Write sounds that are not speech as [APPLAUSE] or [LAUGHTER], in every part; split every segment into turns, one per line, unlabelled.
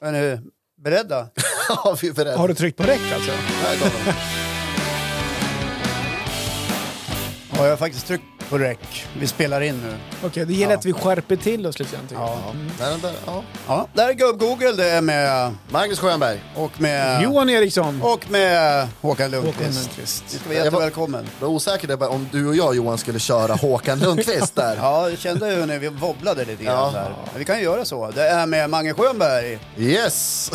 Är ni beredda?
[LAUGHS] ja, vi är beredda.
Har du tryckt på räck alltså?
Här kommer
[LAUGHS]
den.
Ja, jag har faktiskt tryckt på rec. Vi spelar in nu.
Okej, det gäller
Ja.
att vi skärper till oss lite grann tycker jag.
Ja. Nej, den där, ja.
Ja, där är Gubb-Google. Det är med...
Magnus Sjöberg.
Och med...
Johan Eriksson.
Och med Håkan
Håkan
Lundqvist. Ni
Lundqvist.
ska vara
Jag var-
jättevälkommen.
Jag var osäker där, bara om du och jag Johan skulle köra Håkan Lundqvist
[LAUGHS]
där.
Ja, jag kände hur ni vi wobblade lite grann
Ja.
där. Men vi kan ju göra så. Det är med Mange Schönberg.
Yes!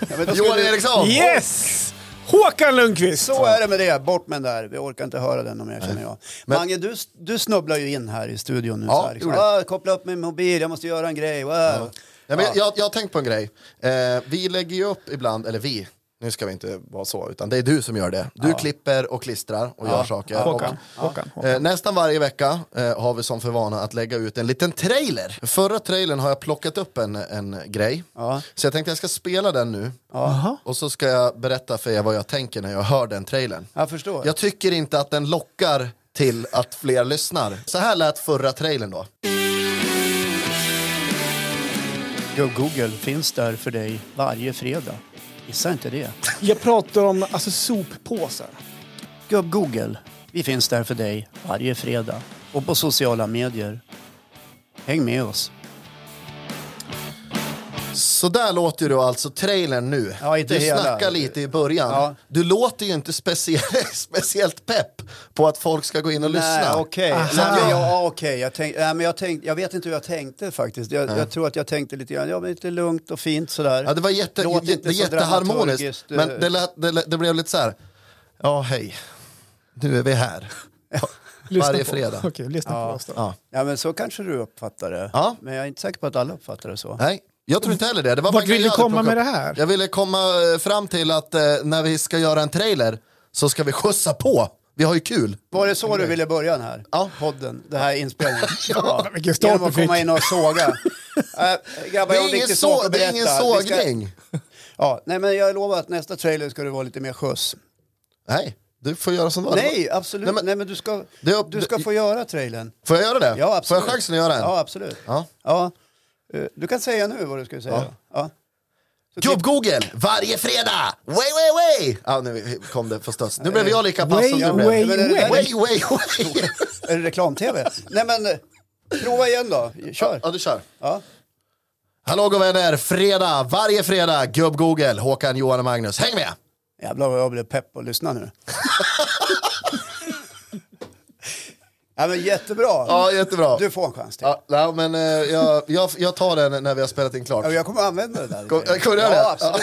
Ja, men då
Johan
skulle-
Eriksson!
Yes! Håkan Lundqvist!
Så eh, är det med det. Bort med den där. Vi orkar inte höra den om jag känner jag.
Men-
Mange, du, du snubblar ju in här i studion nu.
Ja,
så här, liksom.
gjorde jag.
ah, koppla upp min mobil, jag måste göra en grej. Wow.
Nej, men
Ja.
jag, jag har tänkt på en grej. Eh, vi lägger ju upp ibland, eller vi, nu ska vi inte vara så, utan det är du som gör det. Du klipper och klistrar och gör saker.
Håkan.
Och,
Håkan. Håkan.
Eh, nästan varje vecka eh, har vi som för vana att lägga ut en liten trailer. Förra trailern har jag plockat upp en, en grej.
Ja.
Så jag tänkte jag ska spela den nu.
Aha.
Och så ska jag berätta för er vad jag tänker när jag hör den trailern.
Jag förstår.
Jag tycker inte att den lockar till att fler lyssnar. Så här lät förra trailern då.
Go- Google finns där för dig varje fredag. Gissa inte det.
Jag pratar om alltså, soppåsar.
Gubb Google, vi finns där för dig varje fredag och på sociala medier. Häng med oss.
Så där låter ju då alltså trailern nu.
Ja, inte
du
hela.
snackar lite i början.
Ja.
Du låter ju inte speciellt, [LAUGHS] speciellt pepp på att folk ska gå in och
Nej,
lyssna.
okej. Så att jag- Ja, okej. Jag, tänk, nej, men jag, tänk, jag vet inte hur jag tänkte faktiskt. Jag, jag tror att jag tänkte lite grann, ja men lite lugnt och fint sådär.
Ja, det var jätte,
Låt
jä,
inte
det
så
jätteharmoniskt,
dramaturgiskt, eh.
men det, lät, det, lät, det blev lite så här. Ja, hej. Nu är vi här.
Lyssna
Varje
på.
fredag.
Okej, lyssna på oss då.
Ja.
Ja, men så kanske du uppfattar det.
Ja.
Men jag är inte säker på att alla uppfattar det så.
Nej, jag tror inte heller det. det var
Vart
bara grejer
vill du
jag hade
komma
plockat
med
upp.
det här?
Jag ville komma eh, fram till att eh, när vi ska göra en trailer så ska vi skjutsa på. Vi har ju kul.
Var det så du ville börja den här podden? Det här
[LAUGHS]
inspelningen? ja,
vilken start
Genom att
du fick.
komma in och såga. uh, grabbar,
Det
jag har en
är ingen,
viktig
så,
sak att
det
berätta.
är ingen
Vi ska-
sågning.
Ja, nej, men jag lovar att nästa trailer ska det vara lite mer skjuts.
Nej, du får göra som vanligt.
Nej, absolut.
Nej,
Nej,
men-
men, du, ska,
Det är upp-
du ska få göra trailern.
Får jag göra det?
Ja, absolut.
Får jag chansen att göra en?
Ja, absolut.
Ja.
Ja. Eh, Du kan säga nu vad du skulle säga. Ja. typ-
Gubb-Google, varje fredag! Way, way, way! Ja, nu kom det för studs. Nu blev jag lika pass som
Way,
du blev.
way,
Men är det-
way!
way, way, way.
Är det reklam-tv? nej, men eh, prova igen då. Kör.
Ja, du kör.
Ja.
Hallå och vänner, fredag, varje fredag, Gubb-Google, Håkan, Johan och Magnus. Häng med!
Jävlar vad jag blev pepp på att lyssna nu. [LAUGHS] ja, men jättebra.
Ja, jättebra.
Du får en chans till.
Ja, nej, men eh, jag, jag, jag tar den när vi har spelat in klart.
Ja, Jag kommer att använda det där.
Kom- jag kommer göra
ja,
det? Ja.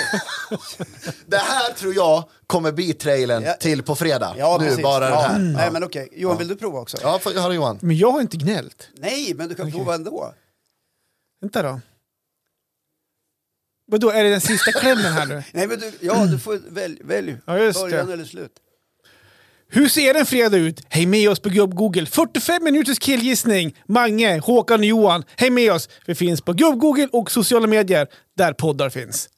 absolut.
[LAUGHS] Det här tror jag kommer bli trailern
Ja.
till på fredag.
Ja,
nu,
precis.
bara
ja.
den här.
Nej, men okej. Johan, vill du prova också?
Ja, får jag höra Johan?
Men jag har inte gnällt.
Nej, men du kan prova ändå.
Vänta då. Vadå, är det den sista klämmen här nu?
Nej, men du, ja, du får välj. välj.
Ja, just
Början
det.
eller slut.
Hur ser en fredag ut? Häng med oss på Gubb-Google. 45 minuters killgissning. Mange, Håkan och Johan. Häng med oss. Vi finns på Gubb-Google och sociala medier där poddar finns.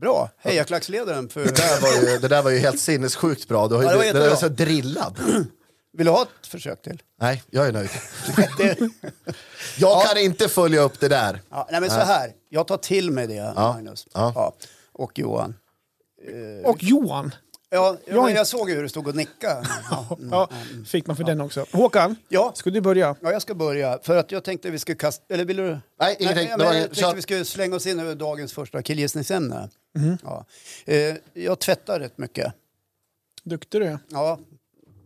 Bra. Hejaklacksledaren. För...
Det där, var ju, det där var ju helt sinnessjukt bra. Du har ju,
Ja, det var
det där är
jättebra.
så drillad.
Vill du ha ett försök till?
Nej, jag är nöjd. Jag kan inte följa upp det där.
Ja, nej, men så här. Jag tar till mig det, Magnus.
Ja.
Och Johan.
Och Johan.
Ja,
är
jag, men
inte-
jag såg ju hur du stod och nickade. Ja.
[LAUGHS] Ja, fick man för den också. Håkan,
Mm. Ja.
ska du börja?
Ja, jag ska börja. För att jag tänkte vi skulle kasta... Eller vill du?
Nej, ingenting.
jag
Det var-
men jag tänkte
kör.
vi skulle slänga oss in över dagens första killgissningsämne. Ja. Eh, jag tvättar rätt mycket.
Duktig du är.
Ja,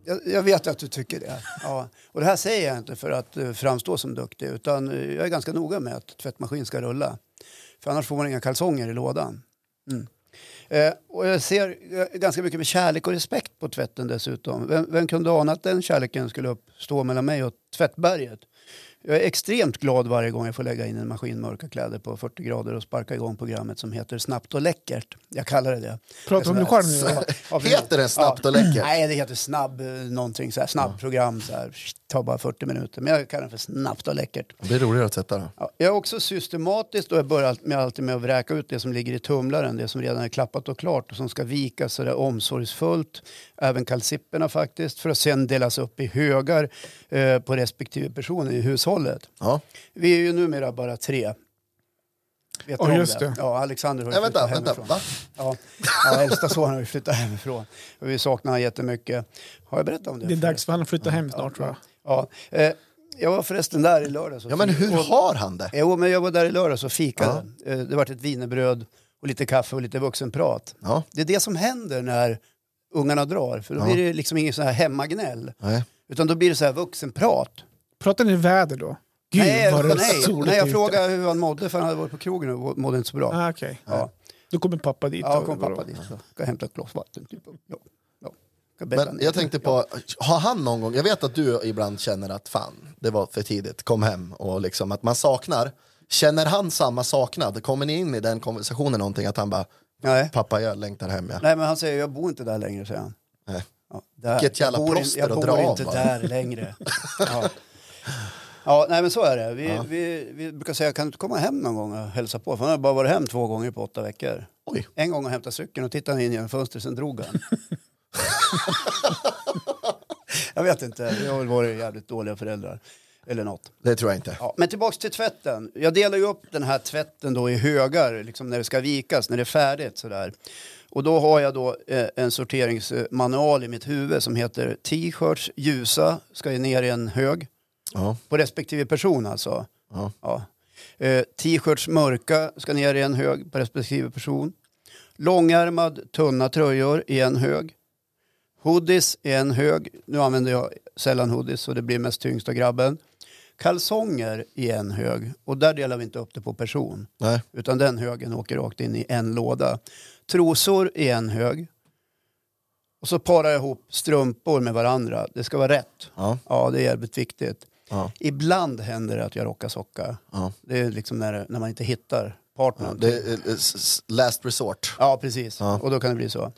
jag, jag vet att du tycker det. Ja. Och det här säger jag inte för att eh, framstå som duktig utan eh, jag är ganska noga med att tvättmaskinen ska rulla. För annars får man inga kalsonger i lådan. Mm. Eh, och jag ser eh, ganska mycket med kärlek och respekt på tvätten dessutom. Vem, vem kunde ana att den kärleken skulle uppstå mellan mig och tvättberget? Jag är extremt glad varje gång jag får lägga in en maskin mörka kläder på 40 grader och sparka igång programmet som heter Snabbt och läckert. Jag kallar det Alltså det.
Pratar om dig själv nu?
Ja, ja, precis.
Heter den Snabbt och läckert?
Nej, det heter snabb eh, någonting så här, snabbprogram så här, tar bara 40 minuter. Men jag kallar den för snabbt och läckert.
Det blir roligare att sätta då.
Ja, jag är också systematiskt och jag börjar allt- med alltid med att vräka ut det som ligger i tumlaren, det som redan är klappat och klart och som ska vikas så där omsorgsfullt, även kalsipperna faktiskt, för att sen delas upp i högar eh, på respektive person i hushållet.
Ja.
Vi är ju numera bara tre. Vet
Ja,
du om
just det.
Ja, Alexander har ju
Nej,
flyttat
vänta, vänta.
hemifrån.
Va?
Ja, ja äldsta sonen har ju flyttat hemifrån. Och vi saknar honom jättemycket. Har jag berättat om det?
Det är dags för han att flytta hem snart tror jag.
Ja. Eh, jag var förresten där i lördags. och
Ja, men
fika-
hur har han det?
Jo, men jag var där i lördags och fikade. Eh, Det var ett wienerbröd och lite kaffe och lite vuxenprat.
Ja,
Det är det som händer när ungarna drar. För då
Ja.
blir det liksom ingen sån här hemmagnäll.
nej.
Utan då blir det så här vuxenprat.
Pratar ni väder då? Gud
nej,
vad det är
nej,
soligt
nej, jag
ute.
frågade hur han mådde för han hade varit på krogen och mådde inte så bra.
Ah, Okej,
Ja,
då kommer pappa dit.
ja
och-
kom pappa dit. Så. Ska hämta ett glas vatten. Typ. Ja. Ja. Ska bädda
Men
ner.
jag tänkte på, har han någon gång, jag vet att du ibland känner att fan, det var för tidigt, kom hem och liksom att man saknar. Känner han samma saknad? Kommer ni in i den konversationen någonting att han bara,
Nej.
pappa jag längtar hem ja.
nej, men han säger jag bor inte där längre, säger han.
Nej.
Ja, där.
Vilket jävla
jag bor, in-
plåster
jag
att
bor
dra av
inte
bara.
där
[LAUGHS]
längre. Ja. ja, nej men så är det. Vi, vi, vi brukar säga, kan du inte komma hem någon gång och hälsa på? För han har bara varit hem två gånger på åtta veckor.
Oj,
En gång och hämtat cykeln och tittade in genom fönstret, sen drog
[LAUGHS]
han. jag vet inte, jag har väl varit jävligt dåliga föräldrar. Eller något.
det tror jag inte.
Ja, men tillbaks till tvätten. Jag delar ju upp den här tvätten då i högar, liksom när det ska vikas, när det är färdigt sådär. Och då har jag då eh, en sorteringsmanual i mitt huvud som heter t-shirts ljusa ska ju ner i en hög
Ja,
på respektive person alltså.
ja.
Ja. Eh, t-shirts mörka ska ner i en hög på respektive person. Långärmad tunna tröjor i en hög. Hoodies i en hög. Nu använder jag sällan hoodies så det blir mest tyngsta grabben. Kalsonger i en hög. Och där delar vi inte upp det på person.
Nej.
Utan den högen åker rakt in i en låda. Trosor i en hög. Och så parar jag ihop strumpor med varandra. Det ska vara rätt.
Ja,
Ja, det är jävligt viktigt.
ja,
Ibland händer det att jag rockar socka.
ja.
Det är liksom när, när man inte hittar
ja.
partnern. Ja,
Det är eh, s- s- last resort.
precis.
Ja.
Och då kan det bli så.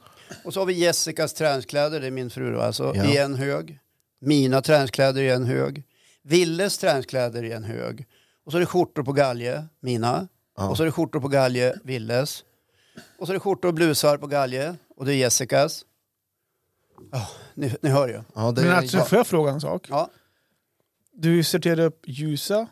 Och så har vi Jessicas träningskläder, det är min fru då, alltså,
Ja.
i en hög. Mina träningskläder i en hög. Villes träningskläder i en hög. Och så är det skjortor på galge, mina.
Ja.
Och så är det skjortor på galge, Villes. Och så är det skjortor och blusar på galge, och det är Jessicas. Ja, ni, ni hör ju.
Ja, det
Men
är,
alltså,
ja.
får jag fråga en sak?
Ja,
Du sorterade upp ljusa,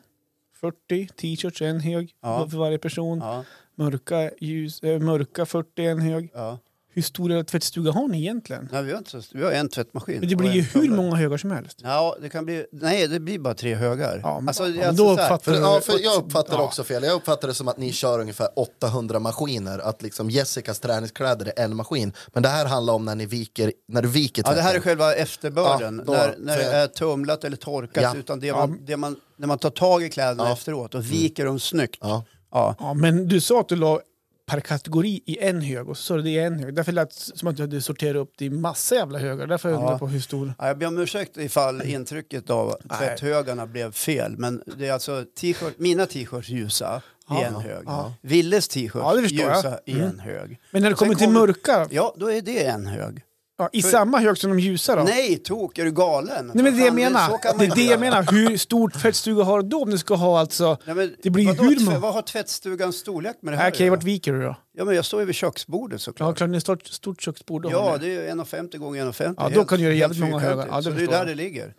40 t-shirts en hög
Ja.
för varje person.
ja,
Mörka, ljus, eh, mörka 40 en hög.
ja.
Hur stor tvättstuga har ni egentligen?
Nej, vi, har inte så, vi har en tvättmaskin.
Men det blir
och
ju
en
hur
tunnel.
många högar som helst.
Ja, det kan bli... Nej, det blir bara tre högar.
Ja, men-
alltså,
ja,
det är
men
alltså så
då
här-
uppfattar
För, ja, för jag
Ja.
uppfattar också fel. Jag uppfattar det som att ni kör ungefär 800 maskiner. Att liksom Jessicas träningskläder är en maskin. Men det här handlar om när ni viker, när du viker
Ja, det här är
tvätten.
själva efterbörden.
Ja, då-
när, när det
för-
är tumlat eller torkat.
Ja.
Utan det man, det man, när man tar tag i kläderna
Ja.
efteråt och viker dem snyggt.
Ja.
Ja.
Mm. Ja, men du sa att du la per kategori i en hög och så sa du det i en hög. Därför lät det som att du hade sorterat upp det i massa jävla högar. Därför undrar jag på hur stor...
Ja, jag ber om ursäkt ifall intrycket av tvätthögarna blev fel. Men det är alltså t-shirt, mina t-shirts ljusa i en hög. Villes t-shirts
Ja, det förstår jag. Mm.
ljusa i en hög.
Men när det
Och sen
kommer till mörka,
Ja, då är det en hög.
ja, i samma hög som de ljusa då?
Nej, tok, är du galen?
Nej, men det är det jag
Fan,
menar.
så kan man
Det är
inte
det jag
göra.
menar. Hur stor tvättstuga har du då om du ska ha alltså...
Nej, men,
Det blir ju
vadå,
hur
tvä-
många-
Vad har tvättstugans storlek med det här
Okej,
att göra?
vart viker du då?
Ja, men jag står ju vid köksbordet
Ja,
såklart.
klart, det är ett stort, stort köksbord. då har
Ja,
ni.
det är ju 1,50 gånger 1,50.
Ja, då
Helt-
kan du göra
helt
jävligt många
fyrkantigt.
högar. Ja, det
så det är
förstår
där
jag.
det ligger.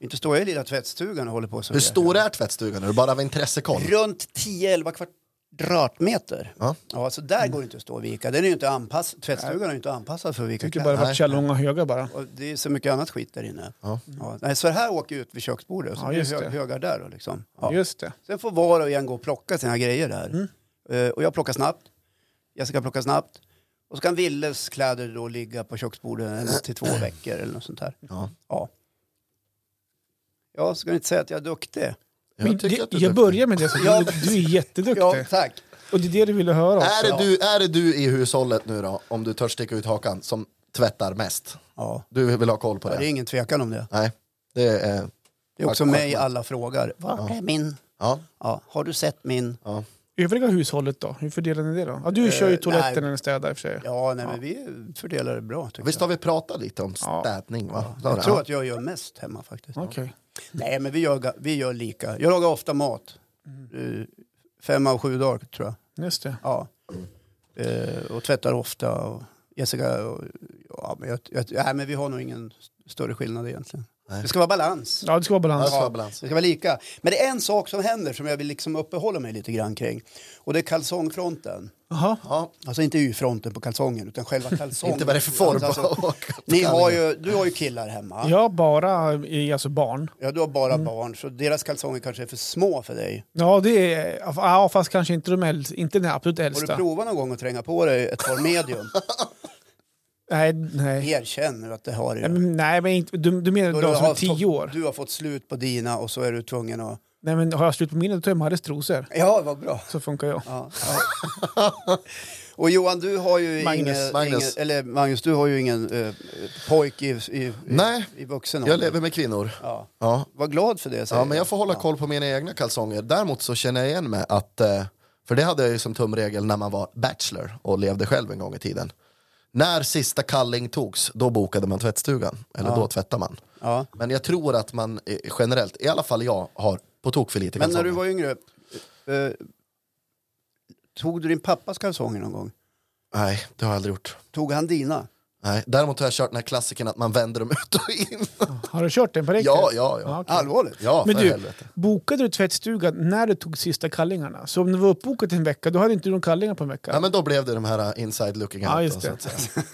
Inte står jag i lilla tvättstugan och håller på så.
Hur stor är tvättstugan? Är det bara av intressekoll?
Runt 10-11 kvadratmeter.
Ja.
Ja, så där går det inte att stå och vika. Den är ju inte anpassad. Tvättstugan är ju inte anpassad för att vika
Jag tycker
kläder.
bara det
Nej.
vart så jävla långa högar bara.
Och det är så mycket annat skit där inne.
Ja.
Ja, nej, så här åker ut vid köksbordet. Så
Ja,
blir det
just
hö-
det.
högar där då, liksom. Ja.
Just det.
Sen får var och en gå och plocka sina grejer där.
Mm.
Eh, och jag plockar snabbt. Jessica plockar snabbt. Och så kan Villes kläder då ligga på köksbordet en till
[CLEARS THROAT]
två veckor eller något sånt där.
Ja.
Ja. Ja, ska du inte säga att jag är duktig?
Men
Jag tycker
det-
att du är
jag
duktig.
börjar med det, så
Ja.
du, du är jätteduktig.
Ja, tack.
Och det är det du ville höra också.
Är det, du, är det du i hushållet nu då, om du törs sticka ut hakan, som tvättar mest?
Ja.
Du vill ha koll på
Det är
det?
ingen tvekan om det.
Nej. Det är,
Det är också
Tack,
mig
tack.
alla frågar. Var är min?
ja,
Ja, har du sett min?
ja.
Övriga hushållet då? Hur fördelar ni det då? Ja, du kör ju
Eh, nej.
toaletten när du städar i och för sig.
Ja, nej, men vi fördelar det bra. Tycker
Visst har vi pratat lite om städning? Va?
jag. jag tror att jag gör mest hemma faktiskt.
Okej.
Nej, men vi gör, ga- vi gör lika. Jag lagar ofta mat. Eh, Fem av sju dagar tror jag.
Just det.
Ja. Eh, och tvättar ofta. Och Jessica och, ja, men jag, jag, nej, men vi har nog ingen st- större skillnad egentligen. Det ska vara balans.
Ja, det ska vara
Ja, det
balans.
ska vara balans.
Det ska vara lika. Men det är en sak som händer som jag vill liksom uppehålla mig lite grann kring. Och det är kalsongfronten.
Jaha.
Ja,
Alltså inte Y-fronten på kalsongen utan själva kalsongen.
[LAUGHS] inte vad det är för form
Alltså,
[LAUGHS] på
ni har ju, du har ju killar hemma. Ja.
Jag bara är alltså barn.
du har bara barn så deras kalsonger kanske är för små för dig.
Ja, det är... Ja, fast kanske inte, de äldsta, inte den absolut
Har du
äldsta.
provat någon gång att tränga på dig ett par
[LAUGHS]
medium?
Nej, nej.
Erkänn nu att det har
Nej,
du.
men- Nej, men inte, du, du menar
Då
de
du
som är
har
tio
fått-
år?
Du har fått slut på dina och så är du tvungen att...
Nej, men har jag slut på mina, då tar jag Marres trosor.
Ja, vad bra.
Så funkar jag.
Ja,
[LAUGHS]
ja. Och Johan, du har ju
Magnus,
ingen,
Magnus.
ingen... Eller Magnus, du har ju ingen eh, pojk i, i, i-
Nej,
i vuxen
Jag
ålder.
lever med kvinnor.
Ja.
Ja.
Var glad för det, säger
Ja, men jag får hålla koll på mina egna kalsonger. Däremot så känner jag igen mig att, eh, för det hade jag ju som tumregel när man var bachelor och levde själv en gång i tiden. När sista kalling togs, då bokade man tvättstugan, eller då tvättade man.
Ja.
Men jag tror att man eh, generellt, i alla fall jag, har på tok för lite
Men när
kalsonger.
du var yngre, eh, tog du din pappas kalsonger någon gång?
Nej, det har jag aldrig gjort.
Tog han dina?
Nej. Däremot har jag kört den här klassiken att man vänder dem [LAUGHS] ut och in.
Har du kört den på riktigt?
Ja, ja, ja.
Ja, okej.
Allvarligt?
Ja,
Men
för
du,
helvete.
bokade du tvättstugan när du tog sista kallingarna? Så om det var uppbokat en vecka, då hade inte du några kallingar på en vecka?
Ja, men då blev det de här eh, inside looking
Ja,
out.
just
och så
det.
att säga.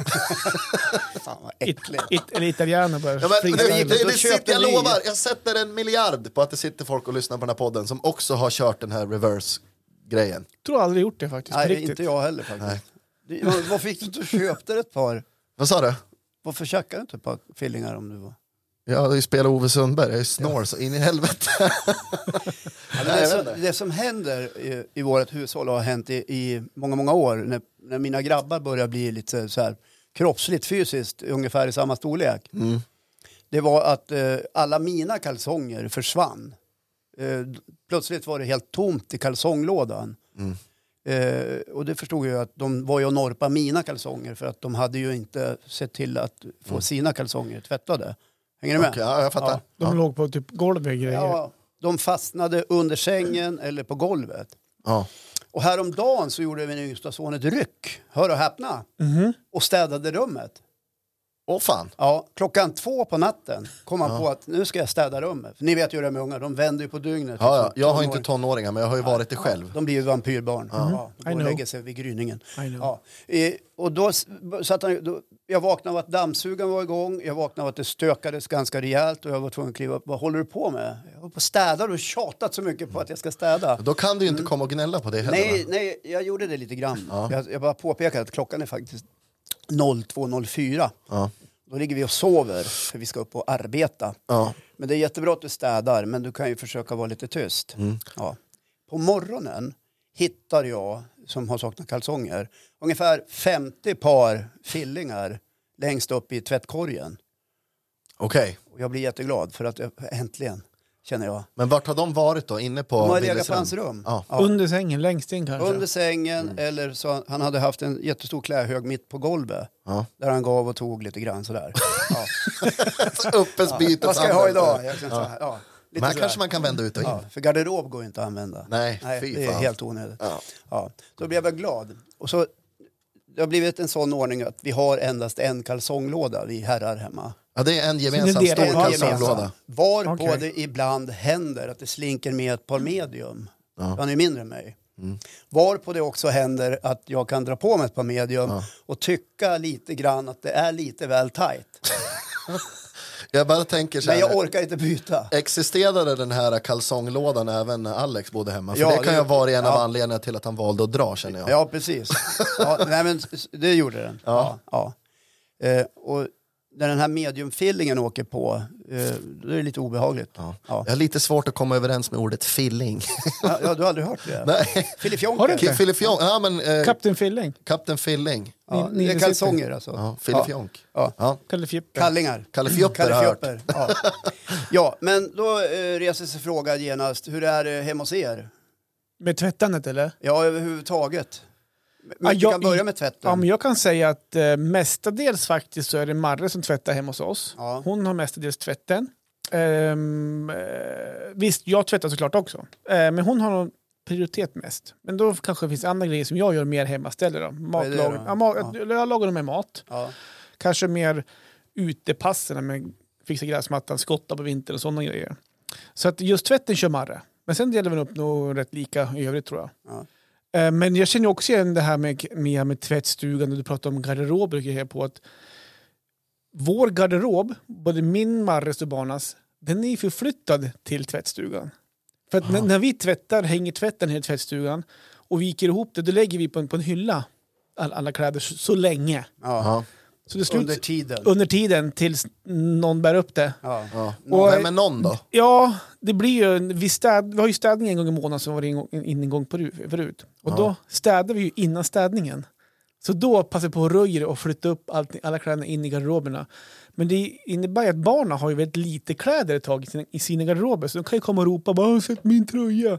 Fan vad
It,
äckligt.
it, eller italienare bara
Ja, men,
flingar
det, det,
iväg.
det,
Då
sitter,
köper
jag
ni-
lovar, jag sätter en miljard på att det sitter folk och lyssnar på den här podden som också har kört den här reverse-grejen.
Jag tror aldrig gjort det faktiskt. på
Nej,
riktigt.
inte jag heller faktiskt. Det- var- Varför fick du inte och köpte ett par?
Vad sa du?
Varför tjackade du inte ett par fillingar om du var...
Jag har ju spelat Ove Sundberg, jag är snår så in i helvete.
det, som, det som händer i, i vårt hushåll och har hänt i, i många, många år när, när mina grabbar börjar bli lite så här kroppsligt, fysiskt, ungefär i samma storlek. Det var att eh, alla mina kalsonger försvann. Eh, d- plötsligt var det helt tomt i kalsonglådan. Eh, och det förstod jag ju att de var ju och norpa mina kalsonger för att de hade ju inte sett till att få sina kalsonger tvättade. Hänger du med?
Okej, ja, jag fattar.
Ja.
De låg på typ golvet och grejer.
Ja, de fastnade under sängen eller på golvet.
Ja.
Och häromdagen så gjorde min yngsta son ett ryck, hör och häpna,
Mhm.
och städade rummet.
Åh fan.
Ja, klockan två på natten kom han på att nu ska jag städa rummet. För ni vet ju hur det är med ungar, de vänder ju på dygnet.
Ja, ja.
liksom.
Jag har
Tonår-
inte tonåringar men jag har ju varit det själv.
De blir ju vampyrbarn. Ja, de
I
går och
know.
lägger sig vid gryningen.
I know.
Ja. Eh, och då s- b- satt han, ju- då, jag vaknade av att dammsugaren var igång, jag vaknade av att det stökades ganska rejält och jag var tvungen att kliva upp. Vad håller du på med? Jag håller på och städar och tjatat så mycket på att jag ska städa.
Då kan du ju inte komma och gnälla på det heller.
Mm. Nej,
va?
nej, jag gjorde det lite grann. Jag, jag bara påpekade att klockan är faktiskt 02.04.
Ja.
Då ligger vi och sover, för vi ska upp och arbeta.
Ja.
Men det är jättebra att du städar, men du kan ju försöka vara lite tyst. Ja. På morgonen hittar jag, som har saknat kalsonger, ungefär 50 par fillingar längst upp i tvättkorgen.
Okej,
Och jag blir jätteglad, för att jag, äntligen, känner jag.
men vart har de varit då? Inne på
De har legat på
Willesrand?
hans rum.
Ja. [LAUGHS]
Ja.
Under sängen, längst in
Alltså.
kanske.
Under sängen,
Mm.
eller så han hade haft en jättestor klädhög mitt på golvet.
Ja.
Där han gav och tog lite grann
[LAUGHS]
sådär. Ja.
Öppet byte.
Vad ska jag ha idag? Jag kan, ja. Ja, lite
Men här
sådär.
kanske man kan vända ut och in.
ja, för garderob går ju inte att använda.
Nej, fy
Det är
fan.
helt onödigt.
Ja.
Ja. Så blev jag glad. Och så, det har blivit en sån ordning att vi har endast en kalsonglåda, vi herrar hemma.
Ja, det är en gemensam
det är
stor
En
det.
gemensam.
kalsonglåda.
Varpå
Okej.
det ibland händer att det slinker med ett par medium. Han är mindre än mig. Varpå det också händer att jag kan dra på mig ett par medium och tycka lite grann att det är lite väl [LAUGHS] tajt.
Jag bara tänker så här.
Men jag orkar inte byta.
Existerade den här kalsonglådan även när Alex bodde hemma? För
Ja,
det kan
det-
ju ha varit en av
ja.
anledningarna till att han valde att dra känner jag.
Ja, precis. Ja, nej, men s- det gjorde den. Ja. Ja. Eh, och när den här mediumfillingen åker på, eh, då är det lite obehagligt. Ja. Ja.
Jag har lite svårt att komma överens med ordet filling. [LAUGHS]
Ja, du har aldrig hört [LAUGHS] det?
Nej.
Filifjonker.
Har du inte?
Ki- Filifjong, ja men eh,
Kapten Filling.
Kapten Filling.
Ja,
Ni-
det
ni
är kalsonger alltså.
Ja, Filifjonk.
Ja.
Ja.
Kalle Fjuppe.
Kallingar.
Kallefjupper Mm, har jag
Kallefjupper, Ja. ja, men då eh, reser sig frågan genast, hur är det hemma hos er?
Med tvättandet eller?
Ja, överhuvudtaget. Men
Ja,
vi
jag-
kan börja med tvätten.
Ja, men jag kan säga att eh, mestadels faktiskt så är det Marre som tvättar hemma hos oss.
Ja.
Hon har mestadels tvätten. Ehm, eh, visst, jag tvättar såklart också. Eh, men hon har nog prioritet mest. Men då kanske det finns andra grejer som jag gör mer hemma istället. Då.
är det då?
Matlag, ja, ma- jag lagar nog mer mat.
Ja.
Kanske mer utepassen med fixa gräsmattan, skotta på vintern och sådana grejer. Så att just tvätten kör Marre. Men sen delar vi upp nog rätt lika i övrigt tror jag.
Ja.
Eh, Men jag känner ju också igen det här med, med, med tvättstugan och du pratar om garderober och grejer på att vår garderob, både min, Marres och Barnas, den är ju förflyttad till tvättstugan. För att när, när vi tvättar hänger tvätten i tvättstugan och viker ihop det, då lägger vi på en, på en hylla all, alla kläder så, så länge.
Ja.
Ja.
Så det sluts
Under
under,
tiden.
tiden tills någon bär upp det.
Ja.
Ja.
Och-
Nej, men någon då?
Ja, det blir ju en, vi, städ, vi har ju städning en gång i månaden som var in, in en gång peru- förut. Och då städar vi ju innan städningen. Så då passar vi på och röjer och flyttar upp allt, alla kläderna in i garderoberna. Men det innebär ju att barnen har ju väldigt lite kläder ett tag i sina, i sina garderober. Så de kan ju komma och ropa bara, "Jag har sett min tröja.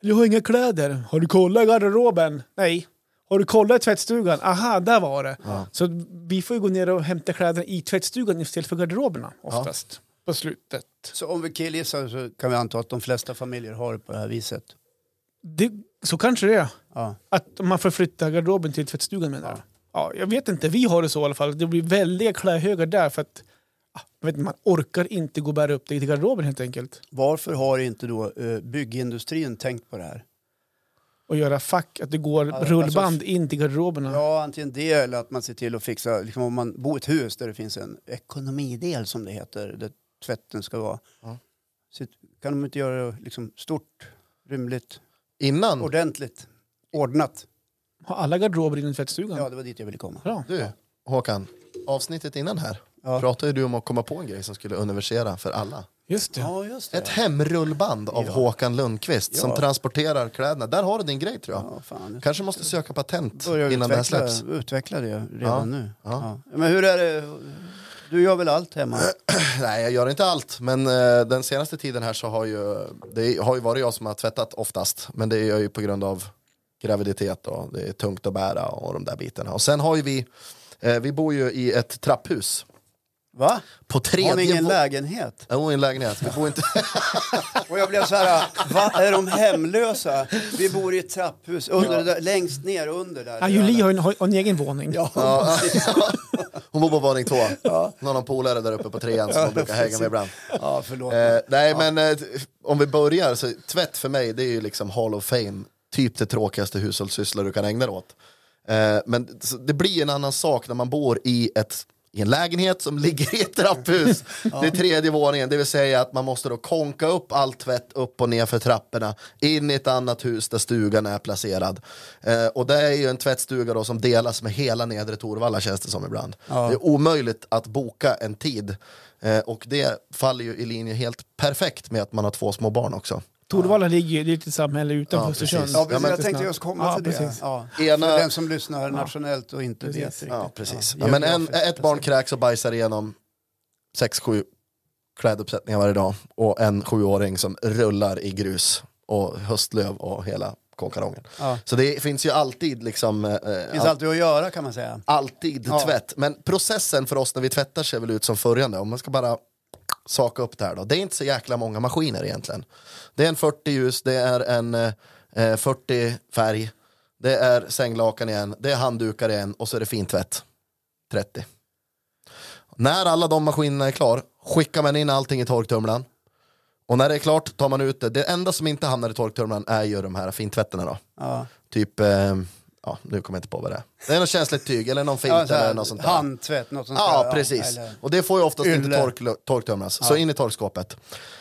Jag har inga kläder. Har du kollat i garderoben? Nej. Har du kollat i tvättstugan? Aha, där var det. Så vi får ju gå ner och hämta kläderna i tvättstugan istället för garderoberna oftast. På slutet.
Så om vi killgissar så kan vi anta att de flesta familjer har det på det här viset.
Det, så kanske det är.
Ja.
Att man får flytta garderoben till tvättstugan menar jag. Ja, jag vet inte, vi har det så i alla fall. Det blir väldiga klädhögar där för att ah, jag vet, inte, man orkar inte gå och bära upp det till garderoben helt enkelt.
Varför har inte då eh, byggindustrin tänkt på det här?
Och göra fack, att det går
Alltså,
rullband in till garderoberna.
Ja, antingen det eller att man ser till att fixa, liksom om man bor i ett hus där det finns en ekonomidel som det heter, där tvätten ska vara.
Ja.
Så kan de inte göra det liksom, stort, rymligt,
Innan?
ordentligt, ordnat?
Har alla garderober in i tvättstugan?
Ja, det var dit jag ville komma.
Bra.
Du, Håkan. Avsnittet innan här
Ja.
pratade ju du om att komma på en grej som skulle universera för alla.
Just det.
Ja, just
Ett
det.
hemrullband av
Ja.
Håkan Lundqvist som
Ja.
transporterar kläderna. Där har du din grej tror jag.
Ja, fan.
Kanske måste söka patent
Börjar
innan det här
utveckla,
släpps.
utveckla det redan
Ja.
nu.
Ja. Äh.
Ja. Men hur är det? Du gör väl allt hemma?
Nej, jag gör inte allt. Men eh, den senaste tiden här så har ju, det har ju varit jag som har tvättat oftast. Men det är jag ju på grund av graviditet och det är tungt att bära och de där bitarna. Och sen har ju vi, eh, vi bor ju i ett trapphus.
Va?
På tredje
Har ni ingen
vå-
lägenhet?
Jo, i en lägenhet. Vi bor inte...
Och jag blev så här, va, är de hemlösa? Vi bor i ett trapphus, under det där, längst ner under där.
Ah, Julie har en, har en egen våning.
[LAUGHS] Ja,
Ja. Hon bor på våning två. Hon har någon polare där uppe på trean som hon brukar hänga med ibland.
ja förlåt.
Eh, nej, men eh, om vi börjar, så tvätt för mig det är ju liksom Hall of Fame. Typ det tråkigaste hushållssyssla du kan ägna dig åt. Eh, men så det blir en annan sak när man bor i, ett, i en lägenhet som [LAUGHS] ligger i ett trapphus. Det är tredje våningen, det vill säga att man måste då konka upp all tvätt upp och ner för trapporna in i ett annat hus där stugan är placerad. Eh, och det är ju en tvättstuga då som delas med hela nedre Torvalla känns det som ibland. Det är omöjligt att boka en tid. Eh, och det faller ju i linje helt perfekt med att man har två små barn också.
Torvalla ligger ju, det är ett litet samhälle utanför
Ja, precis.
Östersund.
ja, precis,
ja, men-
jag tänkte just komma
Ja,
till
precis.
det. Ja.
Ena-
För den som lyssnar nationellt och inte
Precis.
vet.
Ja, precis.
Ja,
Ja, men en,
geografiskt
ett barn kräks och bajsar igenom sex, sju kläduppsättningar varje dag och en sjuåring som rullar i grus och höstlöv och hela konkarongen.
Ja.
Så det finns ju alltid liksom... eh,
Det finns
all-
alltid att göra kan man säga.
alltid
Ja.
tvätt. Men processen för oss när vi tvättar ser väl ut som följande. Om man ska bara saka upp det här då. Det är inte så jäkla många maskiner egentligen. Det är en 40 ljus, det är en eh, 40 färg, det är sänglakan igen, det är handdukar igen och så är det fintvätt. 30. När alla de maskinerna är klar skickar man in allting i torktumlaren. Och när det är klart tar man ut det. Det enda som inte hamnar i torktumlaren är ju de här fintvätterna då.
Ja.
Typ, eh, ja nu kommer jag inte på vad det är. Det är något känsligt tyg eller någon
Ja,
filt
så här,
eller något sånt där.
handtvätt, något sånt där.
Ja,
Ja,
precis.
eller-
Och det får ju oftast inte
Ylle.
tork, torktumlas. Så in i torkskåpet.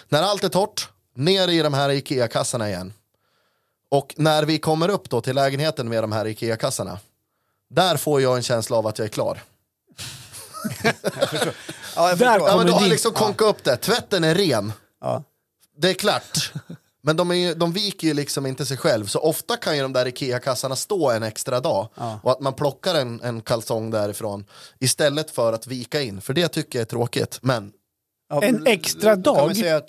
När allt är torrt, ner i de här IKEA-kassarna igen. Och när vi kommer upp då till lägenheten med de här IKEA-kassarna. Där får jag en känsla av att jag är klar.
Ja, jag
Där
förstår.
Ja, men då har
dit.
jag liksom konkat upp det. Tvätten är ren.
Ja.
Det är klart. Men de, är ju, de viker ju liksom inte sig själv, så ofta kan ju de där Ikea-kassarna stå en extra dag. Och att man plockar en, en kalsong därifrån istället för att vika in, för det tycker jag är tråkigt. Men
Ja,
En
men-
extra
då kan man
dag?
säga att-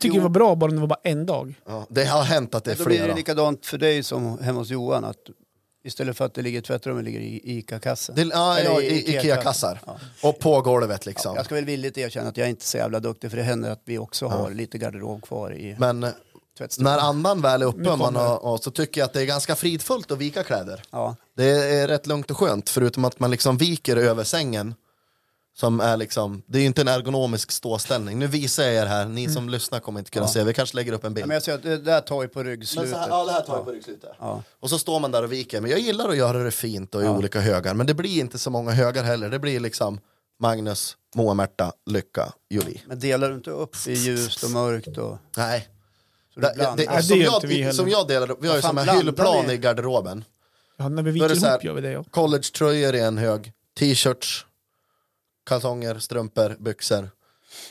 Tycker det var bra bara om det var bara en dag.
ja, det har hänt att det är
Då blir det liksom-
flera.
likadant för dig som hemma hos Johan. Att istället för att det ligger i tvättrummet ligger det i ICA-kassen.
Det, ja,
Eller
ja,
i
i- Ikea-kassar.
Ja.
Och på golvet liksom.
Jag ska väl villigt erkänna att jag är inte är så jävla duktig för det händer att vi också har lite garderob kvar i
Men
tvättstugan.
när andan väl är uppe man
kommer-
har, och så tycker jag att det är ganska fridfullt att vika kläder.
Ja.
Det är rätt lugnt och skönt, förutom att man liksom viker över sängen. Som är liksom, det är ju inte en ergonomisk ståställning. Nu visar jag er här, ni som lyssnar kommer inte kunna se. Vi kanske lägger upp en bild.
Mm. Ja, men jag ser att det där tar ju på
Men
ryggslutet.
så här, ja, det här tar jag på ryggslutet.
Ja.
Och så står man där och viker. Men jag gillar att göra det fint och i olika högar. Men det blir inte så många högar heller. Det blir liksom Magnus, Moa, Märta, Lycka, Julie.
Men delar du inte upp i ljust och mörkt? Och,
Nej.
så
Det,
det,
det,
blandar.
Nej, det
som,
gör inte vi
jag,
heller.
som jag delar upp, vi har ju
Vad fan
som en
blandar
hyllplan
ni?
i garderoben.
Ja, när vi
Då är
viker
det så här-
ihop gör vi det. Ja.
Collegetröjor i en hög, t-shirts, kalsonger, strumpor, byxor.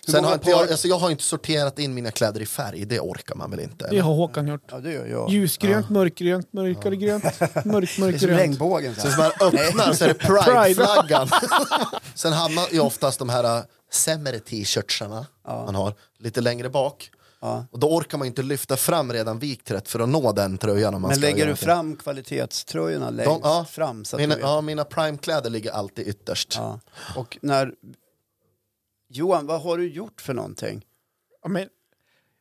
Hur
Sen
många
har inte jag,
par-
alltså jag har inte sorterat in mina kläder i färg, det orkar man väl inte?
Det
eller?
har Håkan gjort.
Ja, det gör jag.
Ljusgrönt, mörkgrönt, mörkare grönt, mörk,
[LAUGHS] Det är som
mörkgrönt.
regnbågen. Så
Sen
här.
så man
[LAUGHS]
öppnar så är det Pride-flaggan. [LAUGHS] Sen hamnar ju oftast de här äh, sämre t-shirtsarna man har lite längre bak.
Ja.
Och då orkar man ju inte lyfta fram redan vikt rätt för att nå den tröjan. Om man
Men
ska
lägger
göra
du
det.
fram kvalitetströjorna längst
De- ja.
fram? Så att
Mina,
du vet.
ja, mina prime-kläder ligger alltid ytterst.
Ja. Och när... Johan, vad har du gjort för någonting?
Ja, men,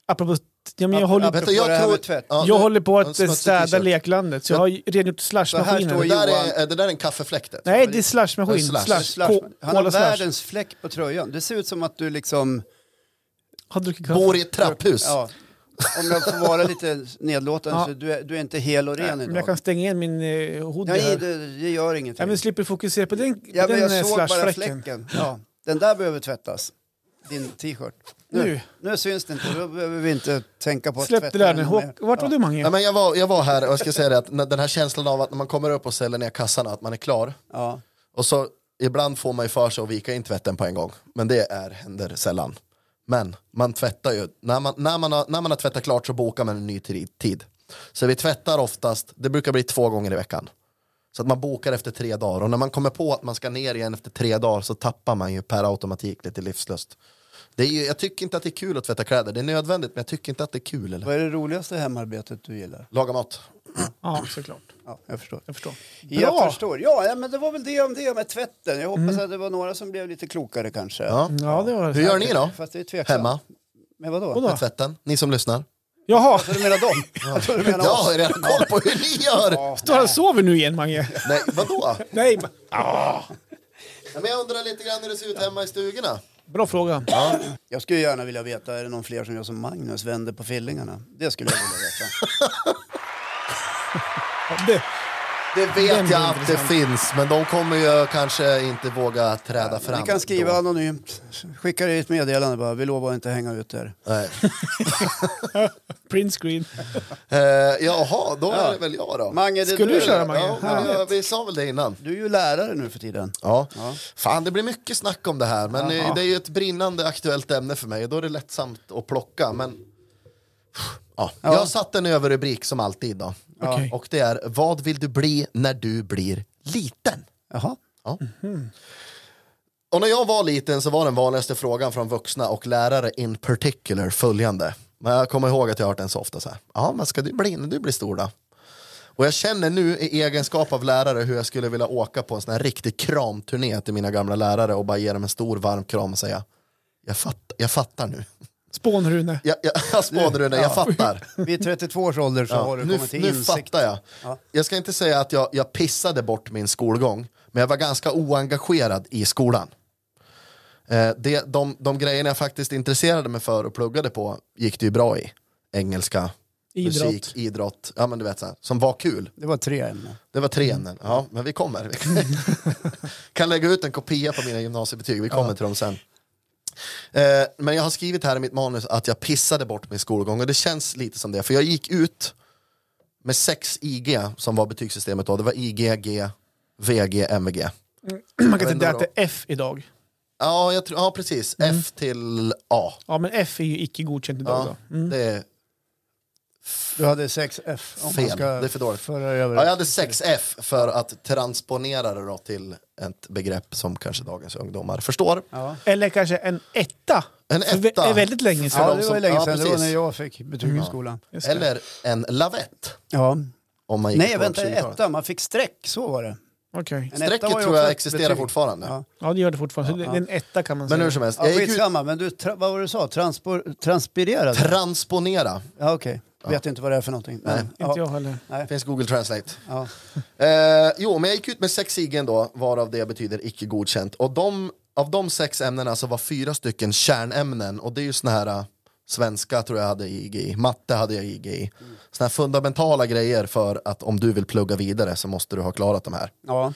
apropå, ja, men jag håller,
Vet
apropå
du,
det här
tror-
med tvätt.
Ja,
jag
nu-
håller på
en
att eh,
smutsig
städa
t-shirt.
lenligt så jag har ju rengjort
Så här står
Det
slashmaskinen.
jag-
där,
Johan.
är, det där är en kaffefläkt.
Nej, det är slashmaskin.
Det är slash.
Slash.
Slash,
K-
han har
Cola slash.
världens fläck på tröjan. Det ser ut som att du liksom...
Har druckit kaffe.
Bor i ett trapphus.
Ja, om jag får vara lite nedlåtande,
Ja.
så du är, du är inte hel och ren
Men
idag.
jag kan stänga igen min eh, hoodie
Nej,
här.
det, det gör ingenting.
Ja, men slipper fokusera på den,
Ja, men
den
jag
eh,
såg bara
slashfläcken.
fläcken. Ja, den där behöver tvättas. Din t-shirt. Nu,
Nu.
nu syns det inte, då behöver vi inte tänka på att
Släpp det
tvätta
där nu.
den
Håk-
mer.
Vart var
ja.
du Mange?
Ja, men jag, var, jag var här och jag ska säga det att när- den här känslan av att när man kommer upp och säljer ner kassarna att man är klar.
Ja.
Och så ibland får man ju för sig att vika in tvätten på en gång. Men det är, händer sällan. Men man tvättar ju. När man, när, man har, när man har tvättat klart så bokar man en ny tri- tid. Så vi tvättar oftast, det brukar bli två gånger i veckan. Så att man bokar efter tre dagar. Och när man kommer på att man ska ner igen efter tre dagar så tappar man ju per automatik lite livslust. Det är ju, jag tycker inte att det är kul att tvätta kläder. Det är nödvändigt men jag tycker inte att det är kul. Eller?
Vad är det roligaste hemarbetet du gillar?
Laga mat.
Ja, såklart.
Ja, jag förstår.
Jag förstår.
Jag förstår. Ja, ja, men det var väl det om det med tvätten. Jag hoppas
Mm.
att det var några som blev lite klokare kanske.
Ja.
Ja, det var
Hur gör ni då?
Fast det är tveksamt.
Hemma?
Men vadå?
Vadå?
vadå?
Med tvätten? Ni som lyssnar?
[LAUGHS]
Jaha,
Du menar dem? Jag tror du menar
Jag
oss.
har redan koll på hur ni gör!
står han och sover nu igen Mange?
Nej, vadå?
Nej, ba-
Nej, men jag undrar lite grann hur det ser ut hemma i stugorna.
bra fråga.
Jag skulle gärna vilja veta, är det någon fler som gör som Magnus, vänder på fillingarna? Det skulle jag vilja veta.
Det,
Det
Den
vet
blir
jag att det
intressant.
finns, men de kommer ju kanske inte våga träda fram.
Ni kan skriva
då.
anonymt, skicka det i ett meddelande bara, vi lovar att inte hänga ut er.
Nej.
print screen.
Eh, jaha, då är det väl jag då.
Mange, det
Skulle du köra Mange?
Ja, men jag- vi sa väl det innan.
Du är ju lärare nu för tiden.
Ja. Fan, det blir mycket snack om det här, men eh, det är ju ett brinnande aktuellt ämne för mig och då är det lättsamt att plocka. Men... Ja. Jag har satt en överrubrik som alltid då.
Okej.
Och det är Vad vill du bli när du blir liten?
Jaha.
Ja. Och när jag var liten så var den vanligaste frågan från vuxna och lärare in particular följande. Men jag kommer ihåg att jag har hört den så ofta så här. Ja, vad ska du bli när du blir stor då? Och jag känner nu i egenskap av lärare hur jag skulle vilja åka på en sån här riktig kramturné till mina gamla lärare och bara ge dem en stor varm kram och säga jag, fatt, jag fattar nu.
Spån-Rune.
Jag, jag, jag spådde du när jag fattar.
Vid 32 års ålder så har du
Nu,
kommit till
nu
insikt.
fattar jag. Jag ska inte säga att jag, jag pissade bort min skolgång, men jag var ganska oengagerad i skolan. Eh, det, de, de grejerna jag faktiskt intresserade mig för och pluggade på gick det ju bra i. Engelska,
Idrott.
musik, idrott, ja, men du vet, så här, som var kul.
Det var tre ämnen.
Det var
Mm.
tre ämnen, ja, men vi kommer.
[LAUGHS]
kan lägga ut en kopia på mina gymnasiebetyg, vi kommer till dem sen. Eh, men jag har skrivit här i mitt manus att jag pissade bort min skolgång och det känns lite som det, för jag gick ut med sex IG som var betygssystemet då, det var IG, G, VG, MVG.
[CLEARS THROAT] Man kan
vet
inte
inte
att det är F idag.
Ja, jag tror, ja precis,
Mm.
F till A.
Ja, men F är ju icke godkänt idag.
Ja,
Då.
det är
Du hade sex F. Om
Fel.
man ska
Det är för dåligt.
Föra över.
Ja, jag hade 6F för att transponera det då till ett begrepp som kanske dagens ungdomar förstår.
Ja.
Eller kanske en etta.
En
För vä-
etta.
är väldigt länge
För
Ja,
de
det var
sedan.
som-
ju länge
ja,
sedan. det var
precis.
när jag fick betyg i skolan.
Just det.
Eller en lavett.
Ja.
Om man gick
Nej,
på
vänta,
20-talet.
etta. Man fick streck, så var det.
Okej.
En etta var
Strecket
ju
tror
också
jag
ett
existerar
betyg.
fortfarande.
Ja.
Ja, det gör det fortfarande. Så det- det är en etta kan man
Men hur
säga.
som helst,
Ja,
jag gick ut
skitsamma, men du, tra- vad var det du sa? Transpor- transpirerade?
transponera.
ja, okej. Vet inte vad det är för någonting. Men,
Nej.
ja,
Inte jag heller.
Det finns Google Translate.
Ja.
Eh, jo, men jag gick ut med sex igen då, varav det betyder icke godkänt. Och de av de sex ämnena så var fyra stycken kärnämnen och det är ju såna här äh, svenska tror jag hade IG i, matte hade jag IG i.
Mm.
Såna här fundamentala grejer för att om du vill plugga vidare så måste du ha klarat de här.
Ja.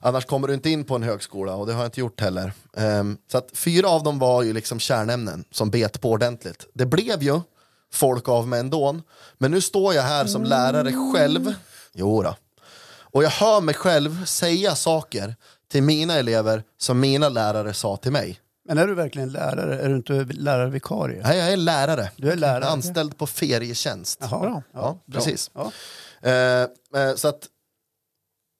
Annars kommer du inte in på en högskola och det har jag inte gjort heller. Ehm, så att fyra av dem var ju liksom kärnämnen som bet på ordentligt. Det blev ju folk av mig ändå. Men nu står jag här som lärare själv. Jo då. Och jag hör mig själv säga saker till mina elever som mina lärare sa till mig.
Men är du verkligen lärare? Är du inte lärarvikarie?
Nej, jag är lärare.
Du är lärare.
Anställd på ferietjänst.
Jaha.
Bra.
Ja, precis.
Ja.
Eh, eh, så att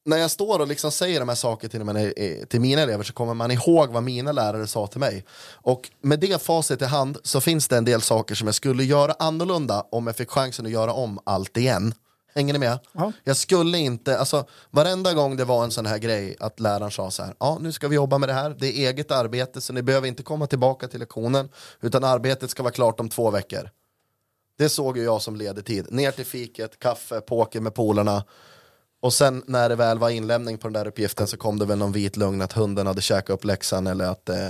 när jag står och liksom säger de här sakerna till mina, eh, till mina elever så kommer man ihåg vad mina lärare sa till mig. Och med det facit i hand så finns det en del saker som jag skulle göra annorlunda om jag fick chansen att göra om allt igen. Hänger ni med?
Ja.
Jag skulle inte, alltså varenda gång det var en sån här grej att läraren sa så här, ja nu ska vi jobba med det här, det är eget arbete så ni behöver inte komma tillbaka till lektionen utan arbetet ska vara klart om två veckor. Det såg ju jag som ledetid. Ner till fiket, kaffe, poker med polarna. Och sen när det väl var inlämning på den där uppgiften så kom det väl någon vit lögn att hunden hade käkat upp läxan eller att eh,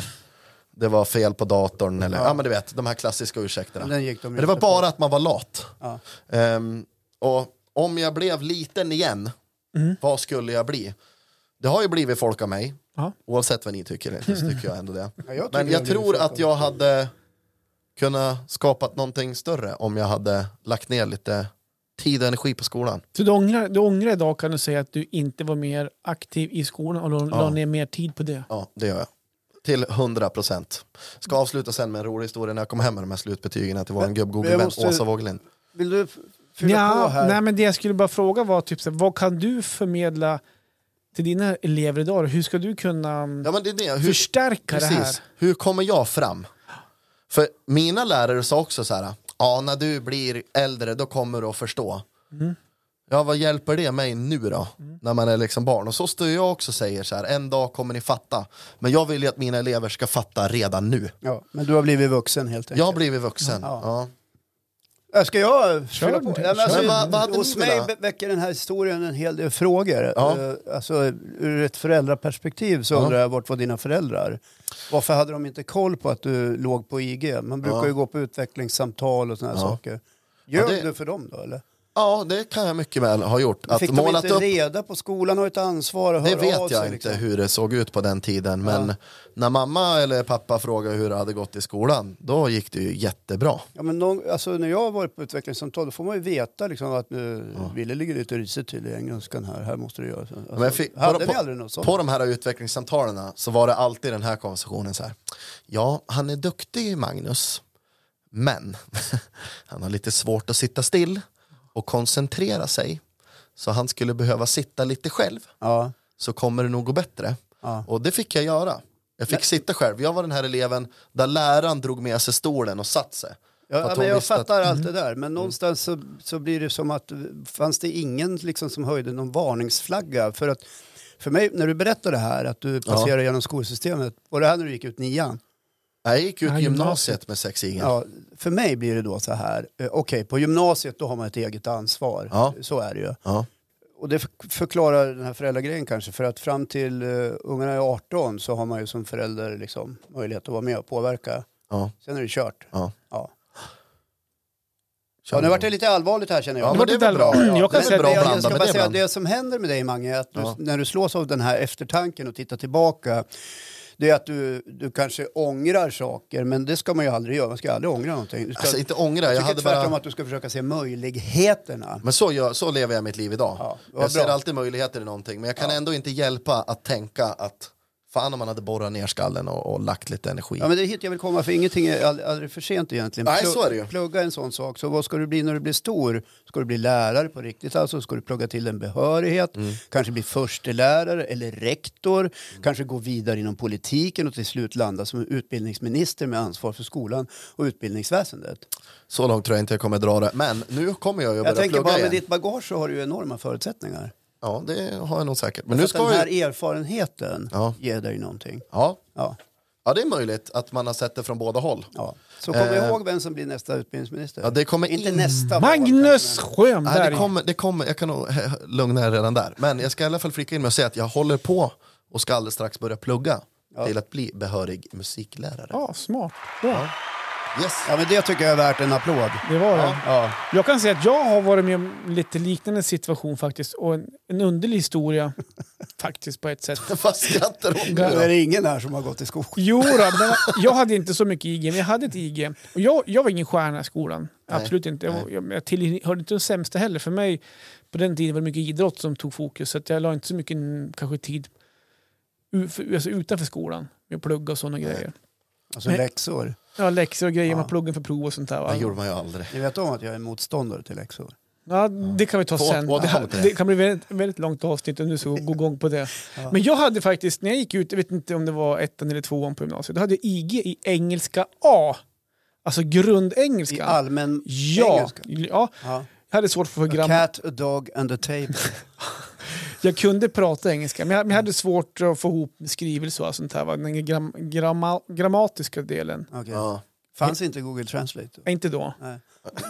det var fel på datorn eller ja. men du vet, de här klassiska ursäkterna.
Den gick de
men det var
inte på.
bara att man var lat.
Ja.
Ehm, och om jag blev liten igen, vad skulle jag bli? Det har ju blivit folk av mig,
Ja.
oavsett vad ni tycker, så tycker jag ändå det.
Ja, jag tycker
Men
det
jag
blir
tror
folk
att
av
jag hade kunnat skapat någonting större om jag hade lagt ner lite tid och energi på skolan.
Så du ångrar, du ångrar idag kan du säga att du inte var mer aktiv i skolan och la, la
Ja.
ner mer tid på det.
Ja, det gör jag. Till 100 procent. Ska avsluta sen med en rolig historia när jag kommer hem med de här slutbetygen till vår
jag
gubb-google-vän
måste-
Åsa Wågelin.
Vill du f- fylla på här?
Nej, men det jag skulle bara fråga var typ, så här, vad kan du förmedla till dina elever idag? då? Hur ska du kunna mm,
Ja, men det är det. Hur,
förstärka det här?
Precis. Hur kommer jag fram? För mina lärare sa också så här, ja när du blir äldre då kommer du att förstå.
Mm.
Ja vad hjälper det mig nu då? När man är liksom barn. Och så står jag också och säger så här, en dag kommer ni fatta. Men jag vill ju att mina elever ska fatta redan nu.
Ja, men du har blivit vuxen helt enkelt.
Jag har blivit vuxen.
Ja.
Ja.
Äh, Ska jag fylla
den
på?
till.
Ja, men alltså,
Men vad- vad hade
hos
ni
mig
velat?
vä- väcker den här historien en hel del frågor.
Ja.
Eh, Alltså, ur ett föräldraperspektiv så
Ja.
undrar jag vart var dina föräldrar? Varför hade de inte koll på att du låg på IG? Man brukar
Ja.
ju gå på utvecklingssamtal och sådana här
Ja.
saker. Gör
Ja, det-
du för dem då eller?
ja det kan jag mycket väl ha gjort. Att
Fick de
målat
inte
upp
reda på? Skolan har ett ansvar att
Det
höra av
vet
sig.
jag inte
liksom.
hur det såg ut på den tiden, men när mamma eller pappa frågade hur det hade gått i skolan, då gick det ju jättebra.
Ja, men någon, alltså, när jag har varit på utvecklingssamtal då får man ju veta liksom, att nu, Wille ligger lite risigt till i engelskan här, här måste du göra så. Alltså,
Men jag fick-
hade
på,
ni aldrig något
på,
sånt?
på de här utvecklingssamtalen så var det alltid den här konversationen så här. Ja, han är duktig Magnus, men [LAUGHS] han har lite svårt att sitta still och koncentrera sig. Så han skulle behöva sitta lite själv,
Ja,
så kommer det nog gå bättre.
ja.
Och det fick jag göra. Jag fick sitta själv. Jag var den här eleven där läraren drog med sig stolen och satt sig.
Ja,
För att
ja,
hon
men jag
visste att-
fattar allt
Mm.
det där, men någonstans så, så blir det som att fanns det ingen liksom, som höjde någon varningsflagga? För att för mig, när du berättar det här, att du passerar genom skolsystemet, var det här när du gick ut nian?
Nej, Jag gick ut
Ja,
gymnasiet med sex igen.
Ja, för mig blir det då så här, eh, okej, på gymnasiet då har man ett eget ansvar,
Ja.
så är det ju.
Ja.
Och det för- förklarar den här föräldragrejen kanske, för att fram till uh, ungarna är 18 så har man ju som förälder liksom, möjlighet att vara med och påverka.
Ja.
Sen är det kört.
Ja.
Ja. Ja, nu vart det lite allvarligt här känner jag.
Ja, men
Det var
det är
lite
väl bra.
allvar-
Ja,
Jag kan
det
Men
är
säga
väl bra
att
det, jag-
att
jag
blanda
ska
med
bara
det
säga,
ibland.
det som händer med dig Mange är att du,
Ja.
när du slås av den här eftertanken och tittar tillbaka det är att du, du kanske ångrar saker, men det ska man ju aldrig göra. Man ska aldrig ångra någonting. Du ska,
Alltså inte ångra, jag,
jag tycker
hade
tvärtom
bara...
att du ska försöka se möjligheterna.
Men så, gör, så lever jag mitt liv idag.
Ja, vad
jag ser
bra.
alltid möjligheter i någonting, men jag kan ändå inte hjälpa att tänka att fan om man hade borrat ner skallen och, och lagt lite energi.
Ja, men det är hit jag vill komma, för ingenting är all- aldrig för sent egentligen.
Nej,
Plug-
så är det ju.
Plugga en sån sak. Så vad ska du bli när du blir stor? Ska du bli lärare på riktigt? Alltså ska du plugga till en behörighet?
Mm.
Kanske bli förstelärare eller rektor? Kanske gå vidare inom politiken och till slut landa som utbildningsminister med ansvar för skolan och utbildningsväsendet.
Så långt tror jag inte jag kommer dra det. Men nu kommer jag ju
Jag
börja
tänker
plugga
bara
igen.
med ditt bagage så har du ju enorma förutsättningar.
Ja, det har jag nog säkert. Men
Nu
nu
ska den
ska
här
jag...
erfarenheten
Ja.
ger dig någonting.
Ja.
Ja,
ja, det är möjligt att man har sett det från båda håll.
ja. Så kom
Eh.
ihåg vem som blir nästa utbildningsminister.
Ja, det kommer
Inte
in-
nästa val, kanske,
Mm. Magnus
men-
Nej,
Sjöberg!
det kommer, det kommer, jag kan nog eh, lugna er redan där. Men jag ska i alla fall flika in med att säga att jag håller på och ska alldeles strax börja plugga
Ja.
till att bli behörig musiklärare.
Ja, smart. Bra.
Ja. Yes.
Ja, men det tycker jag är värt en applåd.
Det var det.
Ja.
Jag kan säga att jag har varit med om lite liknande situation faktiskt. Och en, en
[LAUGHS]
underlig historia faktiskt på ett sätt.
Vad skrattar hon
Nu är
nu
det ingen här som har gått i skolan.
Jo, då, men jag hade inte så mycket IG, men jag hade ett IG. Och jag, jag var ingen stjärna i skolan.
Nej.
Absolut inte. Jag, jag, jag tillhörde inte de sämsta heller. För mig, på den tiden var det mycket idrott som tog fokus. Så att jag la inte så mycket mm, kanske, tid u- för, alltså, utanför skolan. Med plugga och sådana grejer.
Alltså
Nej.
läxor.
Ja, läxor och grejer.
Ja.
Man pluggar för prov och sånt där.
då? Det
Va?
gjorde man ju aldrig.
Ni vet om att jag är motståndare till läxor.
Ja, det kan vi ta
Få-
sen.
återkomma till det.
Det kan bli väldigt, väldigt långt avsnitt om du ska gå igång på det.
Ja.
Men jag hade faktiskt, när jag gick ut, jag vet inte om det var ettan eller tvåan på gymnasiet, då hade jag IG i engelska A. Alltså grundengelska.
I allmän
Ja,
engelska.
ja,
Ja.
jag hade svårt för
A
program.
cat, a dog and a
[LAUGHS]
table.
Jag kunde prata engelska, men jag, men jag hade svårt att få ihop skrivelse och sånt här. va? Den gram, gramma, grammatiska delen.
Okej.
Ja.
Fanns inte Google Translate?
Nej, Inte då.
Nej.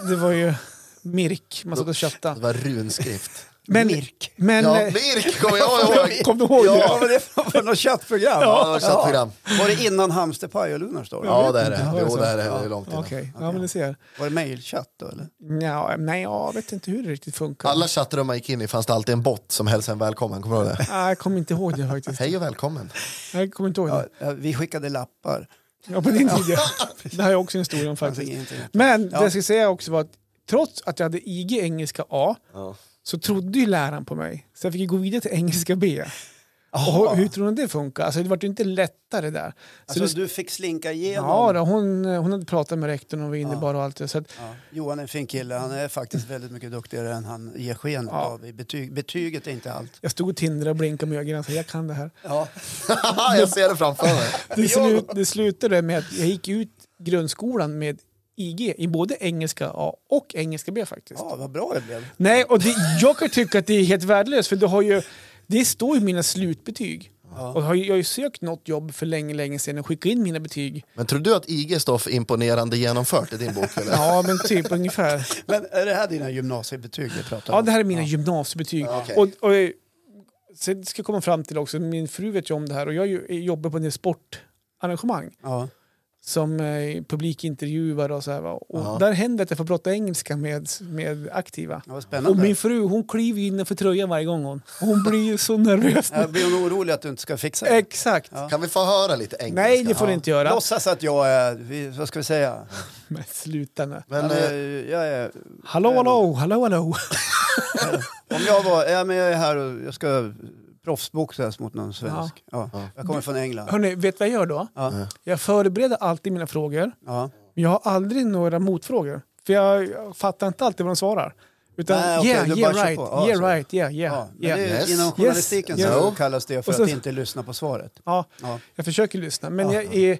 Det var ju Mirk, man satt och chattade.
Det var runskrift.
Men,
Mirk.
men,
ja,
eh,
Mirk kommer
[LAUGHS]
jag ihåg.
kom du ihåg
Ja,
det?
men det var något chattprogram.
Ja, det var ett chattprogram.
Var det innan Hamsterpaj och Lunarstorm?
Ja, det är
Ja,
det.
det är
Jo,
så.
det är det. Det är långt innan.
Okej, ja men ni ser.
Var det mejlchatt då eller?
Nja, nej, jag vet inte hur det riktigt funkar.
Alla chattrum man gick in i fanns det alltid en bot som hälsade en välkommen. Kommer du ihåg det?
[LAUGHS] Nej, jag kommer inte ihåg det faktiskt.
Hej och välkommen. [LAUGHS]
Jag kommer inte ihåg
Ja,
det.
ja, vi skickade lappar.
Ja, på din tid ja. [LAUGHS] Det här är också en historia om
Fanns
faktiskt.
ingen internet.
Men
Ja.
det jag ska säga också var att trots att jag hade IG engelska A så trodde ju läraren på mig. Så jag fick ju gå vidare till engelska B. Och hur tror ni det funkar? Alltså det var ju inte lättare där. Så
Alltså,
det,
du fick slinka igenom.
ja, då, hon, hon hade pratat med rektorn och var inne bara och allt det. Så att,
Ja, Johan är en fin kille. Han är faktiskt väldigt mycket duktigare än han ger sken
Ja.
av. i Betyg, betyget är inte allt.
jag stod och tindrade och blinkade med ögonen och sa jag kan det här.
Ja.
jag ser det framför mig.
Det, slut, det slutade med att jag gick ut grundskolan med IG i både engelska A och engelska B faktiskt.
ja, vad bra det blev.
Nej, och det, jag kan tycka att det är helt värdelöst för det, har ju, det står ju mina slutbetyg. Och jag har ju, jag har ju sökt något jobb för länge, länge sedan och skickat in mina betyg.
Men tror du att IG står för imponerande genomfört i din bok? Eller?
Ja, men typ ungefär.
Men är det här dina gymnasiebetyg vi pratar om?
[LAUGHS] Ja, det här är mina gymnasiebetyg.
Ja, okej.
Och, och, eh, sen ska jag komma fram till också, min fru vet ju om det här och jag ju- jobbar på en del sportarrangemang.
Ja.
som eh, publikintervjuar och så här. va. Och
Ja.
där händer att jag får prata engelska med, med aktiva.
Ja, vad
Och
spännande.
min fru hon kliver in för tröjan varje gång hon. Hon blir ju så nervös.
Jag blir nog orolig att du inte ska fixa det.
Exakt.
Ja.
Kan vi få höra lite engelska?
Nej, det får ni inte göra.
Låtsas att jag är, vi- vad ska vi säga?
Men sluta nu.
Men,
ja, men,
eh,
jag är,
Hallå, hallå, hallå, hallå.
om jag var, ja, men jag är här och jag ska proffsboxas mot någon svensk. Ja. Jag kommer från England.
Hörrni, vet du vad jag gör då?
Ja.
Jag förbereder alltid mina frågor,
Ja.
men jag har aldrig några motfrågor. För jag, jag fattar inte alltid vad de svarrar. Utan
Nej, okej,
yeah,
du
yeah
bara kör
right,
på. Ja,
yeah
så.
right, yeah, yeah.
Ja, men
yeah.
det, är-
Yes.
Inom journalistiken
Yes.
så
No.
kallas det för
Och så-
att inte lyssna på svaret.
Ja.
Ja.
Jag försöker lyssna, men jag är...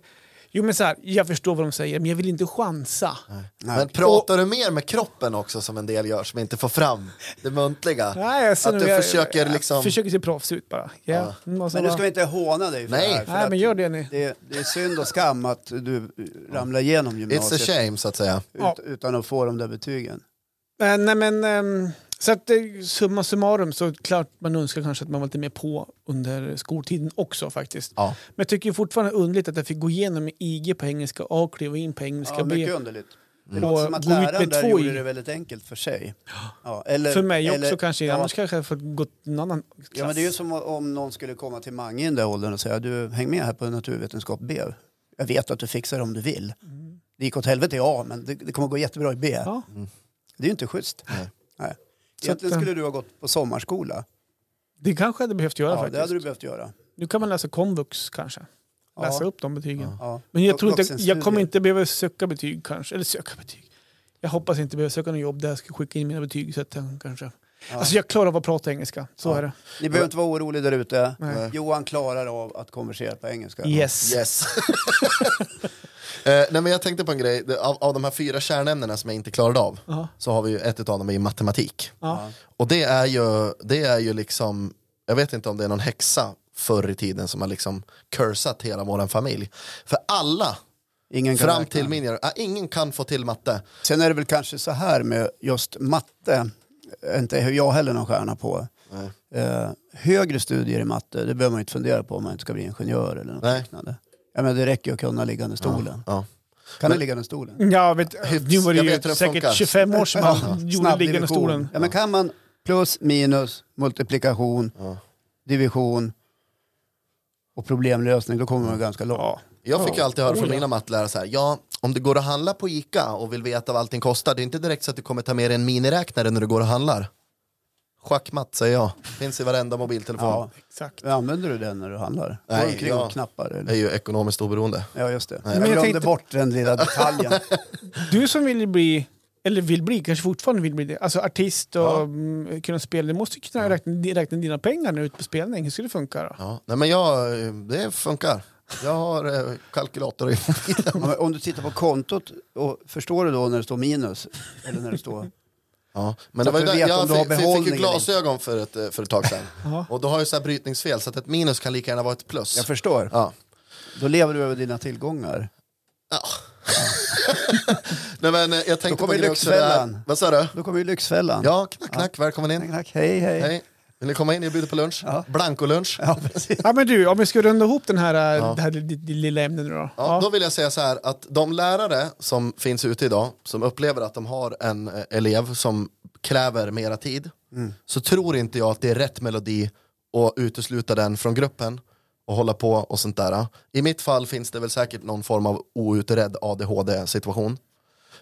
Jo, men så här, jag förstår vad de säger, men jag vill inte chansa. Nej,
men pratar du mer med kroppen också som en del gör som inte får fram det muntliga?
jag ser
att
nog-
du
jag,
försöker liksom...
Jag försöker se proffs ut bara. Ja. Ja.
Men nu ska vi inte håna dig för
Nej.
det här. För
Alltså, Nej,
att
men gör det ni.
det, det är synd och skam att du ramlar igenom
It's a
gymnasiet
shame så att säga.
Ja.
ut, utan att få de där betygen.
Eh, nej, men... ehm, så att eh, summa summarum så klart man önskar kanske att man var lite mer på under skoltiden också faktiskt.
Ja.
Men jag tycker fortfarande underligt att jag fick gå igenom med IG på engelska A och kliva in på engelska
Ja,
B.
mycket underligt. Det
Och
låter som att
gå ut med
läraren där
två i.
gjorde det väldigt enkelt för sig. Ja, eller,
För mig
eller-
också kanske,
ja,
annars kanske jag fått gått någon annan klass.
Ja, men det är ju som om någon skulle komma till Mange i den där åldern och säga du häng med här på naturvetenskap B. Jag vet att du fixar det om du vill. Det gick åt helvete i A men det, det kommer gå jättebra i B.
Mm. Ja.
Det är ju inte schysst.
Nej.
Nej.
Så att, eh,
Egentligen skulle du ha gått på sommarskola.
Det kanske jag hade behövt göra
Ja, det
faktiskt.
hade du behövt göra.
Nu kan man läsa komvux kanske.
Ja.
Läsa upp de betygen.
Ja.
Men jag tror inte,
Vuxenstudier.
jag kommer inte behöva söka betyg kanske. Eller söka betyg. Jag hoppas inte behöva söka något jobb där jag ska skicka in mina betyg. Så att jag, kanske. Alltså jag klarar av att prata engelska. Så
Ja.
är det.
Ni behöver inte vara oroliga där ute. Eh,
Nej.
Johan klarar av att konversera på engelska.
Yes.
Yes. [LAUGHS] eh, nej, men jag tänkte på en grej, Det- av, av de här fyra kärnämnena som jag inte klarade av
Ja.
så har vi ju ett av dem i matematik.
Ja.
Och det är ju, det är ju liksom, jag vet inte om det är någon häxa förr i tiden som har liksom cursat hela vår familj. För alla,
Ingen kan
fram
räkna.
till min generation, äh, ingen kan få till matte.
Sen är det väl kanske så här med just matte. Inte är jag Eh, heller någon stjärna på.
Nej.
Eh, högre studier i matte, det behöver man inte fundera på om man inte ska bli ingenjör eller något
Nej.
liknande. Ja, men det räcker ju att kunna liggande stolen.
Ja.
Kan du liggande stolen?
Ja, vet,
Hyfs-
nu var det
jag
ju
vet hur det
säkert
funkar.
25 år sedan
[LAUGHS] Ja,
man gjorde
snabb
liggande
division.
stolen.
Ja, men kan man plus, minus, multiplikation,
Ja.
division och problemlösning, då kommer man ganska långt.
Ja.
Jag fick ju alltid höra
Oh,
från
ja.
mina mattelärare så här, ja, om du går och handlar på Ica och vill veta vad allting kostar, det är inte direkt så att du kommer ta med dig en miniräknare när du går och handlar. Schackmatt säger jag, finns i varenda mobiltelefon.
Ja.
Exakt.
Men Använder du den när du handlar?
Nej,
Går omkring
ja.
och knappar? Eller?
Jag är ju ekonomiskt oberoende.
Ja, just det.
Nej.
Jag
Men jag
glömde
tänkte-
bort den lilla detaljen.
Du som vill bli, eller vill bli, kanske fortfarande vill bli det, alltså artist och
Ja.
mm, kunna spela, du måste ju kunna räkna, räkna dina pengar nu ut på spelning. Hur skulle det funka då?
Ja. Nej men jag, eh, det funkar. Jag har eh, kalkylator i mobilen.
Ja, men Om du tittar på kontot, och förstår du då när det står minus? Eller när det står...
Ja. Men
Så
det var ju
att du
där,
vet om
jag
du har
fick, fick
behållning liksom.
ju
eller
glasögon för ett, eh, för ett tag sedan.
Ja.
och då har jag så här brytningsfel, så att ett minus kan lika gärna vara ett plus.
Jag förstår.
Ja.
Då lever du över dina tillgångar.
Ja. Nej men eh, jag
Då
tänkte
kommer
på en också det
Lyxfällan.
här. Vad sa du?
Då kommer ju Lyxfällan.
Ja, knack knack, välkommen in.
Knack, knack. Hej, hej.
Hej. Vill ni komma in? Jag bjuder på lunch.
Ja.
Blancolunch.
Ja, precis.
Ja men du, om vi ska runda ihop den här, ja. det här li- li- lilla ämnet nu då. Ja,
Ja, då vill jag säga så här att de lärare som finns ute idag som upplever att de har en eh, elev som kräver mera tid
Mm.
så tror inte jag att det är rätt melodi att utesluta den från gruppen och hålla på och sånt där. I mitt fall finns det väl säkert någon form av outredd ADHD-situation.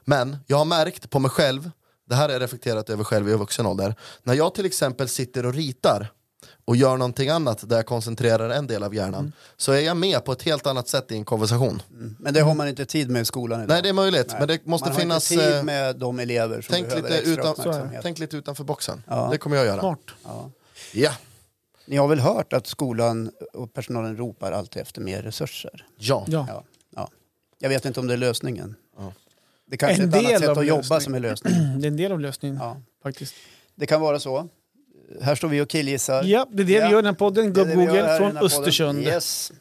Men jag har märkt på mig själv, det här är reflekterat över själv i vuxen ålder, när jag till exempel sitter och ritar och gör någonting annat där jag koncentrerar en del av hjärnan
Mm.
så är jag med på ett helt annat sätt i en konversation.
Men det har man inte tid med i skolan idag.
Nej det är möjligt, men det måste
man har
finnas...
inte tid
eh,
med de elever som
Tänk
behöver
lite,
extra
utan,
uppmärksamhet.
tänk lite utanför boxen.
Ja.
Det kommer jag göra.
Smart.
Ja.
Ja.
Ni har väl hört att skolan och personalen ropar alltid efter mer resurser?
Ja.
Ja.
Ja. ja. Jag vet inte om det är lösningen.
Ja.
Det kanske
En
är ett annat
del
sätt
av
att jobba
lösningen.
som är lösningen.
Det är en del av lösningen
Ja.
faktiskt.
Det kan vara så. Här står vi och killgissar.
Ja, det är det
Ja.
vi gör i den här podden,
Det är det vi gör här
Gubb-Google
i den
från
här podden.
Östersund.
Yes.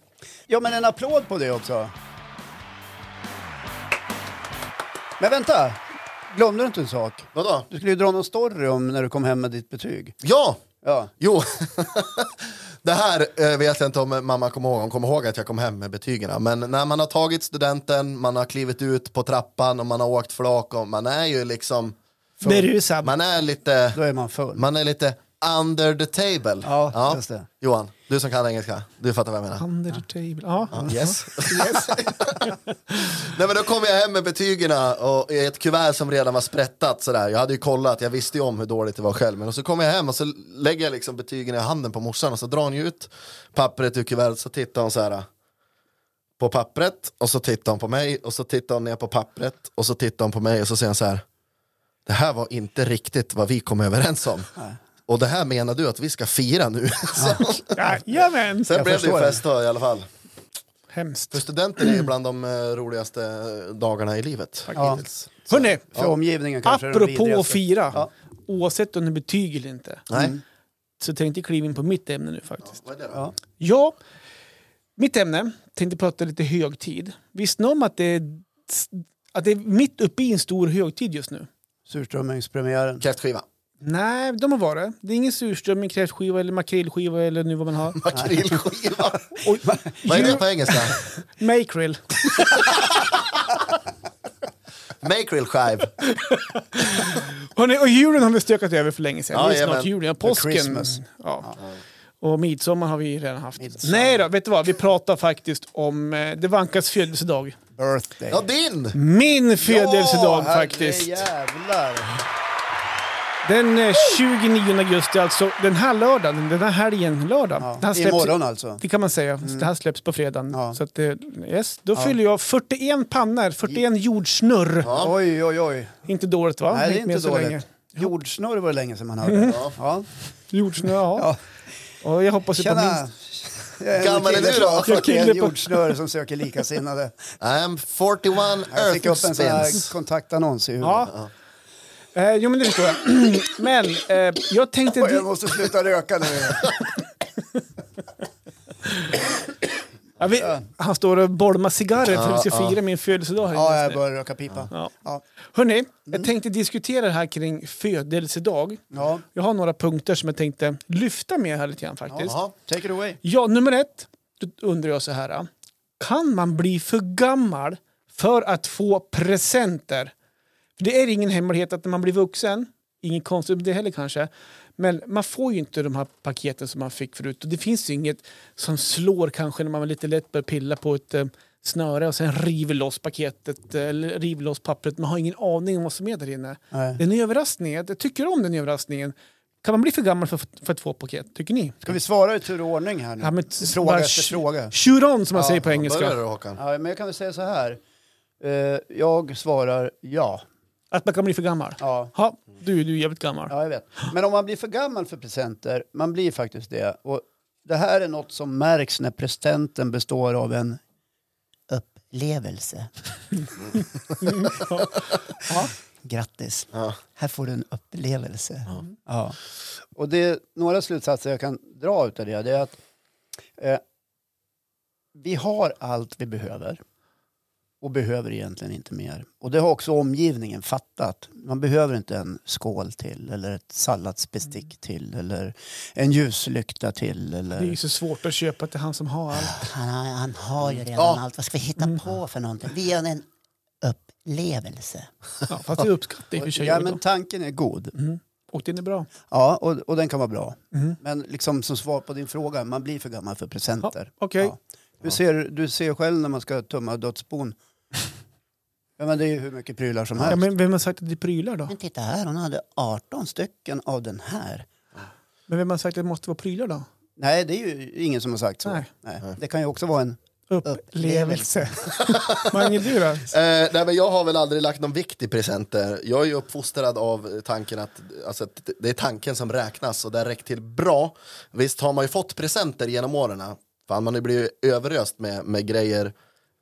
Ja, men en applåd på det också. Men vänta, glömde du inte en sak?
Vadå?
Du skulle ju dra någon story om när du kom hem med ditt betyg.
Ja!
Ja,
Jo, [LAUGHS] det här eh, vet jag inte om mamma kommer ihåg. Hon kommer ihåg att jag kom hem med betygen. Men när man har tagit studenten, man har klivit ut på trappan och man har åkt flak och man är ju liksom...
Berusad.
Man är lite,
då är man full.
man är lite under the table.
Ja, just det.
Johan, du som kan engelska, du fattar vad jag menar.
Under the table. Ja.
Yes. [LAUGHS] Nej men då kom jag hem med betygen och i ett kuvert som redan var sprättat sådär. Jag hade ju kollat, jag visste ju om hur dåligt det var själv. Men och så kom jag hem och så lägger jag liksom betygen i handen på morsan och så drar hon ju ut pappret ur kuvertet så tittar hon så här på pappret och så tittar hon på mig och så tittar hon ner på pappret och så tittar hon på mig och så säger hon så här. Det här var inte riktigt vad vi kom överens om. Och det här menar du att vi ska fira nu? Så, [LAUGHS]
Jajamän!
sen
Jag
blev det ju
förstår det.
fest då, i alla fall. För
Hemskt.
studenter är ju bland de eh, roligaste eh, dagarna i livet.
Ja.
Hittills.
Hörrni,
För omgivningen kanske är den
apropå att
vidrigaste.
fira,
Ja.
oavsett om det är betyg eller inte,
Nej,
så tänkte jag kliva in på mitt ämne nu faktiskt.
vad är det då?
Ja.
Ja, mitt ämne tänkte prata lite högtid. Visste ni om att det, är- att det är mitt uppe i en stor högtid just nu?
Surströmmingspremiären. [LAUGHS]
Kräftskiva.
Nej, de har varit. Det är ingen surströmming, kräftskiva eller makrillskiva eller nu vad man har.
[LAUGHS]
Makrillskiva.
Och,
vad är det
Djur-
på engelska?
Makrill.
Makrillskive.
Hörrni, och julen har vi stökat över för länge sedan.
Ja,
det är snart
jajamän.
julen. Och påsken.
Christmas.
Ja. Och midsommar har vi redan haft.
Midsommar.
Nej då, vet du vad? Vi pratar faktiskt om eh, det vankas födelsedag.
Birthday.
Ja,
Mm.
din!
Min födelsedag
Ja,
faktiskt.
herrejävlar.
Den eh, 29 augusti, alltså den här lördagen, den här helgen, lördag.
Ja.
Det, här släpps,
Imorgon alltså.
det kan man säga. Det här släpps på fredagen.
Ja.
Så att, eh, yes. Då fyller jag 41 pannor, 41 jordsnurr.
Oj, oj, oj.
Inte dåligt va?
Nej, det är
Hängt med
inte
så länge. Alltså,
dåligt. Jordsnurr var det länge sedan man hade. Ja. Ja. [LAUGHS]
Jordsnurr, ja. Och jag hoppas ju på minst...
Tjena! Jag en
Gammal är
kille
du då?
på
Jag kille
41
på-
jordsnurr som söker likasinnade.
I'm 41
Jag fick upp
earth
en sån här
spins.
kontaktannons i huvudet.
Ja. Eh, jo men det förstår jag. [CLEARS THROAT] men eh, jag tänkte...
Oj, jag
[LAUGHS] Di-
måste sluta röka nu.
Ja, Ja, vi, han står och bolmar cigarrer för att vi ska
Ja, ja.
fira min födelsedag här
Ja,
just
jag
nu.
börjar röka pipa. Ja.
Ja.
Ja. Mm.
Hörni, jag tänkte diskutera det här kring födelsedag.
Ja.
Jag har några punkter som jag tänkte lyfta med här lite grann faktiskt. Ja,
Jaha.
Take it away.
nummer ett, då undrar jag så här. Kan man bli för gammal för att få presenter? För det är ingen hemlighet att när man blir vuxen, inget konstigt med det heller kanske, men man får ju inte de här paketen som man fick förut. Och det finns ju inget som slår kanske när man lite lätt börjar pilla på ett eh, snöre och sen river loss paketet, eh, eller river loss pappret. Man har ingen aning om vad som är där inne.
Nej.
Den är överraskningen. Jag tycker om den överraskningen. Kan man bli för gammal för, för att få paket? Tycker ni?
Ska vi svara i tur och ordning här nu?
Ja, men
fråga
bara
efter
sh-
fråga.
Shoot on som man
Ja,
säger på
Börjar
engelska.
du Håkan?
Ja, men jag kan väl säga så här. Eh, jag svarar ja.
Att man kan bli för gammal. Ja,
ja.
du, du är jävligt gammal.
Ja, jag vet. Men om man blir för gammal för presenter, man blir faktiskt det. Och det här är något som märks när presenten består av en upplevelse.
Ja.
Grattis,
Ja.
här får du en upplevelse. Ja. Och det är några slutsatser jag kan dra utav det. Det är att eh, vi har allt vi behöver och behöver egentligen inte mer. Och det har också omgivningen fattat. Man behöver inte en skål till eller ett salladsbestick till eller en ljuslykta till. Eller...
Mm. Det är ju så svårt att köpa till han som har allt.
Han har, han har
Mm.
ju redan
Ja.
allt. Vad ska vi hitta
Mm.
på för någonting? Vi gör en upplevelse.
Ja, fast det uppskattar jag i och för sig.
Ja, men tanken är god.
Och den är bra.
Ja, och, och den kan vara bra. Men liksom som svar på din fråga, man blir för gammal för
Ja,
presenter.
Okej.
Ja. Du, ser, du ser själv när man ska tömma dödsbon. Ja, men det är ju hur mycket prylar som
Ja,
helst.
men vem har sagt att det är prylar då?
Men titta
Det
här.
här, hon hade 18 stycken av den här.
Men vem har sagt att det måste vara prylar då?
Nej, det är ju ingen som har sagt så.
Nej.
Nej. Det kan ju också vara en...
Upplevelse. [LAUGHS] Mange, du då?
Eh, nej, men jag har väl aldrig lagt någon vikt i presenter. Jag är ju uppfostrad av eh, tanken att, alltså, att det- det är tanken som räknas och det har räckt till bra. Visst har man ju fått presenter genom åren. Fan, man blir ju överöst med, med grejer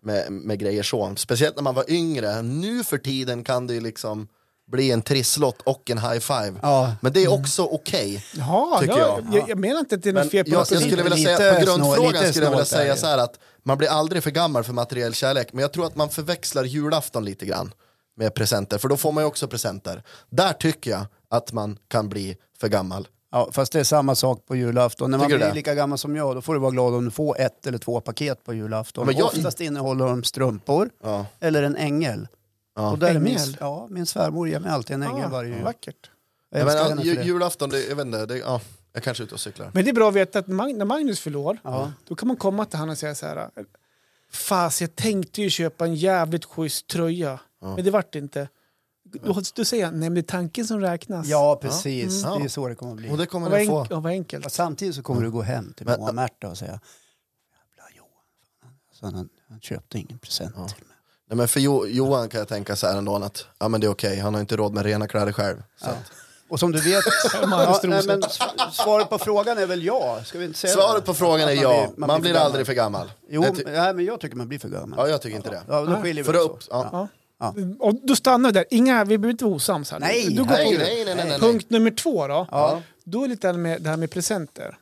med, med grejer så. Speciellt när man var yngre. Nu för tiden kan det ju liksom bli en trisslott och en high five.
Ja.
Men det är också okej.
Jaha,
Tycker
jag,
jag.
jag, jag menar inte att det är något
Men jag,
fel på
jag
något sätt.
skulle vilja
Lite
säga, på
snål-
grundfrågan
lite
skulle jag vilja
snålt är
säga
det.
så här att man blir aldrig för gammal för materiell kärlek, men jag tror att man förväxlar julafton lite grann med presenter, för då får man ju också presenter. Där tycker jag att man kan bli för gammal.
Ja, fast det är samma sak på julafton. När man
Tycker du
blir
det?
lika gammal som jag, då får du vara glad om du får ett eller två paket på julafton.
Men jag-
Oftast innehåller de strumpor
Ja.
eller en ängel.
Ja.
Och där är min,
Ängel?
ja, min svärmor ger mig alltid en ängel varje
Ah,
jul.
vackert.
Jag
Jag
älskar
menar,
henne för
ju,
det.
julafton, det, jag vet inte, det, ja, jag kanske är ute och cyklar.
Men det är bra att veta att Mag- när Magnus förlorar,
Ja.
då kan man komma till han och säga så här. Fas, jag tänkte ju köpa en jävligt schysst tröja, men det vart inte. Då, då säger han, nej men det är tanken som räknas.
Ja, precis.
Ja.
Det är så det kommer att bli.
Och det
och
kommer
vad,
ni
enk-
få.
och vad enkelt.
Och samtidigt så kommer du gå hem till
Men-
mamma Märta och säga Jävla Johan, fan, alltså, han, han köpte ingen present till mig.
Nej, men för jo, Johan kan jag tänka så här ändå att ja, men det är okej, han har inte råd med rena kläder själv. Så. att-
Och som du vet, ja, nej,
Strosor.
men s- svaret på frågan är väl ja? Ska vi inte säga
Svaret
det?
på frågan är
Att
ja, man, blir,
gammal.
aldrig för gammal.
Jo,
Jag ty-
nej, men jag tycker man blir för gammal.
ja, jag tycker inte det.
Ja, då skiljer vi
För
oss
upp,
åt.
ja.
Ja.
Ja.
Och då stannar vi där, Inga, vi behöver inte vara osams här.
Nej,
du går på
Nej,
det.
nej, nej, nej, nej.
Punkt nummer två då.
Ja.
Då är det lite det här med, det här med presenter.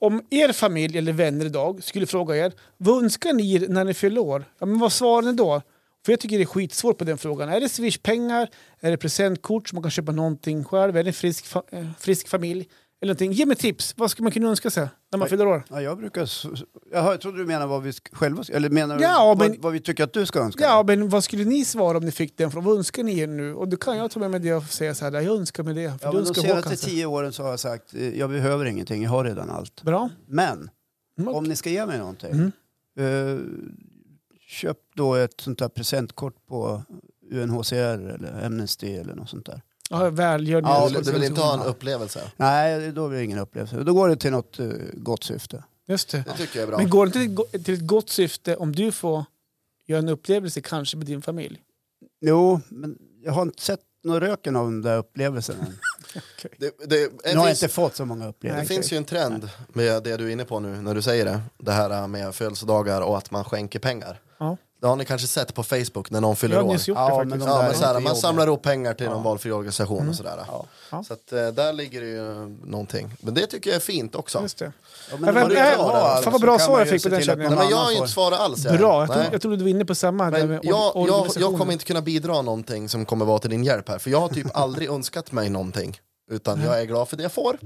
Om er familj eller vänner idag skulle fråga er vad önskar ni er när ni fyller år? Ja, men vad svarar ni då? För jag tycker det är skitsvårt på den frågan. Är det swishpengar? Är det presentkort så man kan köpa någonting själv? Är det en frisk, fa- eh, frisk familj? Eller någonting. Ge mig tips. Vad ska man kunna önska sig när man fyller år?
Ja, jag brukar... s- s- Jaha, jag trodde du menade vad vi sk- själva... ska- Eller menar du
Ja,
vad,
men-
vad vi tycker att du ska önska?
Ja, men vad skulle ni svara om ni fick den frågan? Vad önskar ni er nu? Och då kan jag ta med mig det och säga så här, jag önskar mig det. För
Ja,
du
men de
önskar
senaste
Håkan sig.
tio åren så har jag sagt eh, jag behöver ingenting, jag har redan allt.
Bra.
Men
Mm.
om ni ska ge mig någonting,
Mm.
eh, köp då ett sånt där presentkort på UNHCR eller Amnesty eller något sånt där.
Ja, välgörd.
Ja,
du, du vill inte ha en upplevelse?
Nej, då blir det ingen upplevelse. Då går det till något eh, gott syfte.
Just det.
Det tycker jag är bra.
Men går det inte till ett- till ett gott syfte om du får göra en upplevelse kanske med din familj?
Jo, men jag har inte sett någon röken av den där upplevelsen
[LAUGHS]
än.
Det,
Nu
det,
har
det,
jag
finns,
inte fått så många
det
upplevelser.
finns ju en trend äh, med det du är inne på nu när du säger det. Det här med födelsedagar och att man skänker pengar.
Ja.
Det har ni kanske sett på Facebook när någon fyller
Jag har
år.
nyss gjort
Ja,
det
men
faktiskt.
de
Ja,
där
men så här,
inte
man
jobbar.
samlar ihop pengar till någon valfri organisation och sådär.
Ja.
Ja.
Så att, eh, där ligger det ju någonting. Men det tycker jag är fint också.
Just det.
Ja,
Ja,
det
men-
var det
äh,
jag var där.
fan vad
Så
bra
kan
svar
man
jag
ju
fick
se
på den
till att
känningen.
någon
Nej, men jag
annan
har ju
får-
inte svarat alls. jag.
Bra, jag,
Nej.
trodde- jag trodde du var inne på samma. där
Men
med or-
jag, jag, jag
organisationer.
kommer inte kunna bidra någonting som kommer vara till din hjälp här, för jag har typ aldrig önskat mig någonting. Utan jag är glad för det jag får.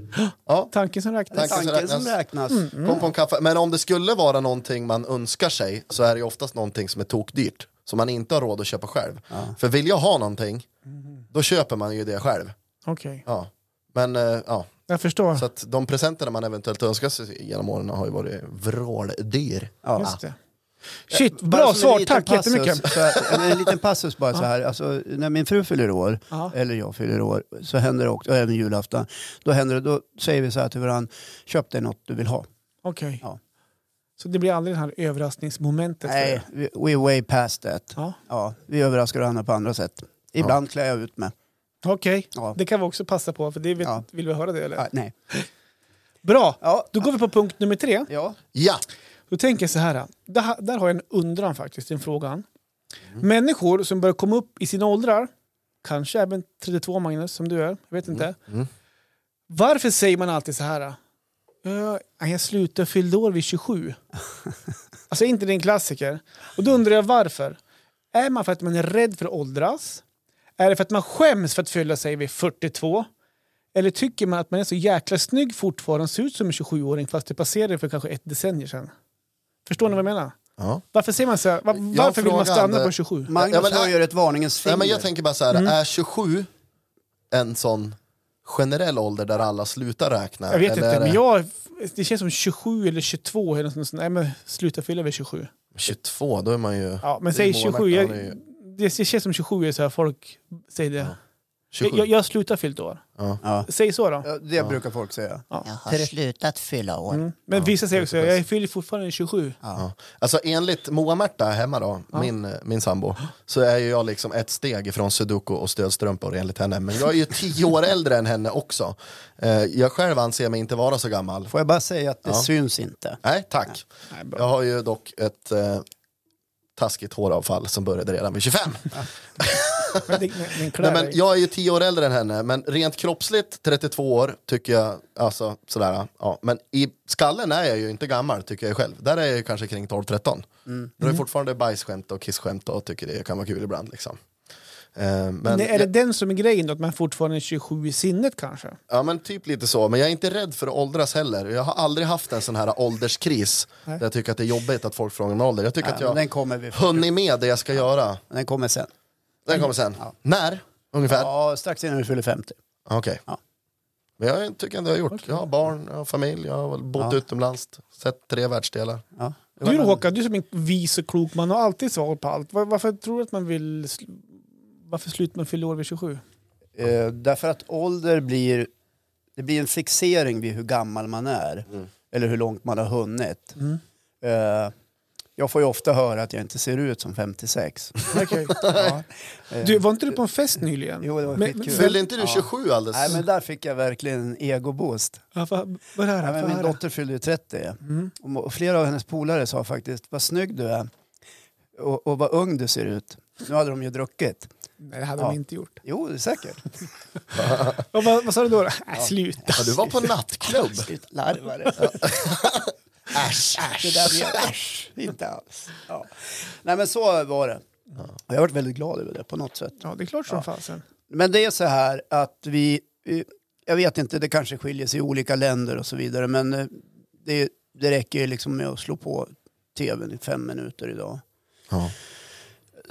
Ja,
Tanken som
Tack.
räknas.
Tanken som räknas. Mm.
kom på
Mm.
en kaffe. Men om det skulle vara någonting man önskar sig så är det ju oftast någonting som är tokdyrt. Som man inte har råd att köpa själv. För vill jag ha någonting, då köper man ju det själv.
Mm-hmm. Okej,
Ja. Men eh, ja,
jag förstår.
så att de presenterna man eventuellt önskar sig genom åren har ju varit vråldyr.
Ja.
Just det.
Eh,
Shit,
Bara som
bra
en
svar.
liten
Tack
passus,
jättemycket.
Så här, en liten passus bara så här. Alltså, när min fru fyller år,
Ja.
eller jag fyller år, så händer det också, och även julafton, då, händer det, då säger vi så här till varandra, köp dig något du vill ha.
Okej.
Ja.
Så det blir aldrig det här överraskningsmomentet? för
Nej,
er?
we we're way past that.
Ja.
Ja, vi överraskar varandra på andra sätt. Ibland klär jag ut mig.
Okej,
Ja.
det kan vi också passa på, för det vet,
Ja.
vill vi höra det eller?
Ja, nej.
Bra,
Ja.
då går vi på punkt nummer tre.
Ja.
Ja,
Då tänker jag så här, där, där har jag en undran faktiskt, en
Mm.
frågan. Människor som börjar komma upp i sina åldrar, kanske även 32 Magnus, som du är, jag vet inte.
Mm.
Varför säger man alltid så här? "Eh, jag slutade jag fyllde år
[LAUGHS]
vid 27. alltså är inte det en klassiker? Och då undrar jag varför. Är man för att man är rädd för att åldras? Är det för att man skäms för att fylla sig vid 42? Eller tycker man att man är så jäkla snygg fortfarande och ser ut som en 27-åring fast det passerade för kanske ett decennium sedan? Förstår ni vad jag menar?
Ja.
Varför säger man så här? Var, varför vill man
frågade-
stanna på 27?
Magnus
Ja, men-
höjer ett varningens finger.
Nej, men jag tänker bara så
Mm.
här, är 27 en sån generell ålder där alla slutar räkna?
Jag vet
Eller
inte,
är det
men jag, det känns som 27 eller 22. Eller något sånt. Nej, men sluta fylla vid 27.
22, då är man ju...
Ja, men
det är
säg
ju
27.
målvakten,
Jag,
han är ju
det, det känns som 27 är så här folk säger det.
27.
Jag, jag slutar fyllt år.
ja.
Säg så då.
Ja, Det brukar folk säga.
Jag har slutat fylla år.
Mm. Men vissa säger också jag fyller fortfarande 27.
Ja. Alltså enligt Moa-Märta hemma då, min, min sambo, så är ju jag liksom ett steg ifrån sudoku och stödstrumpor enligt henne. Men jag är ju tio år äldre än henne också. Eh, Jag själv anser mig inte vara så gammal.
Får jag bara säga att det
Ja.
syns inte.
Nej, tack.
Nej, bra.
Jag har ju dock ett eh, taskigt håravfall som började redan vid 25.
Men det, men, men klär
Nej, men
dig.
jag är ju tio år äldre än henne, men rent kroppsligt 32 år tycker jag, alltså sådär, ja. Men i skallen är jag ju inte gammal tycker jag själv. Där är jag ju kanske kring 12-13. Då är det fortfarande bajsskämt och kissskämt och tycker det kan vara kul ibland liksom. Eh, men,
Nej, är det den som är grejen då? Att man fortfarande är 27 i sinnet kanske?
Ja men typ lite så, men jag är inte rädd för att åldras heller. Jag har aldrig haft en sån här ålderskris där jag tycker att det är jobbigt att folk frågar min ålder. Jag tycker
Nej, Äh,
att
men
jag
den kommer vi
hunnit med det jag ska göra.
Den kommer sen.
Den kommer sen. När? Ungefär?
Ja, strax innan du fyller typ. 50.
Okej.
Ja.
Men jag tycker ändå jag har gjort. Jag har barn, jag har familj, jag har bott utomlands, sett tre världsdelar.
Ja.
Du Håkan, du som är en vis och klok man har alltid svar på allt. Var, varför tror du att man vill... sl- Varför slutar man fylla år vid 27?
Eh, därför att ålder blir, det blir en fixering vid hur gammal man är.
Mm.
Eller hur långt man har hunnit.
Mm.
Eh, jag får ju ofta höra att jag inte ser ut som
[LAUGHS]
56.
Okej. Du, var inte du på en fest nyligen?
Jo, det var skitkul.
Fyllde inte du 27 alldeles?
Nej men där fick jag verkligen en egoboost.
Ja, vad, vad är det
Nej,
här?
men
Vad
min
är det? Mm.
dotter fyllde ju 30 och må- och flera av hennes polare sa faktiskt vad snygg du är och, och vad ung du ser ut. Nu hade de ju druckit.
Nej, det hade
Ja.
de inte gjort.
Jo, det är
[LAUGHS]
säkert.
Ja, vad, vad sa du då? då? Äh, sluta.
Ja, du var på nattklubb.
Sluta larva dig. [LAUGHS]
Äsch,
Det
äsch.
där blev äsch, inte alls. Ja. Nej men så var det. Och jag har varit väldigt glad över det på något sätt.
Ja, det är klart som fasen.
Men det är så här att vi, eh, jag vet inte, det kanske skiljer sig i olika länder och så vidare, men eh, det, det räcker ju liksom med att slå på tvn i fem minuter idag.
Ja.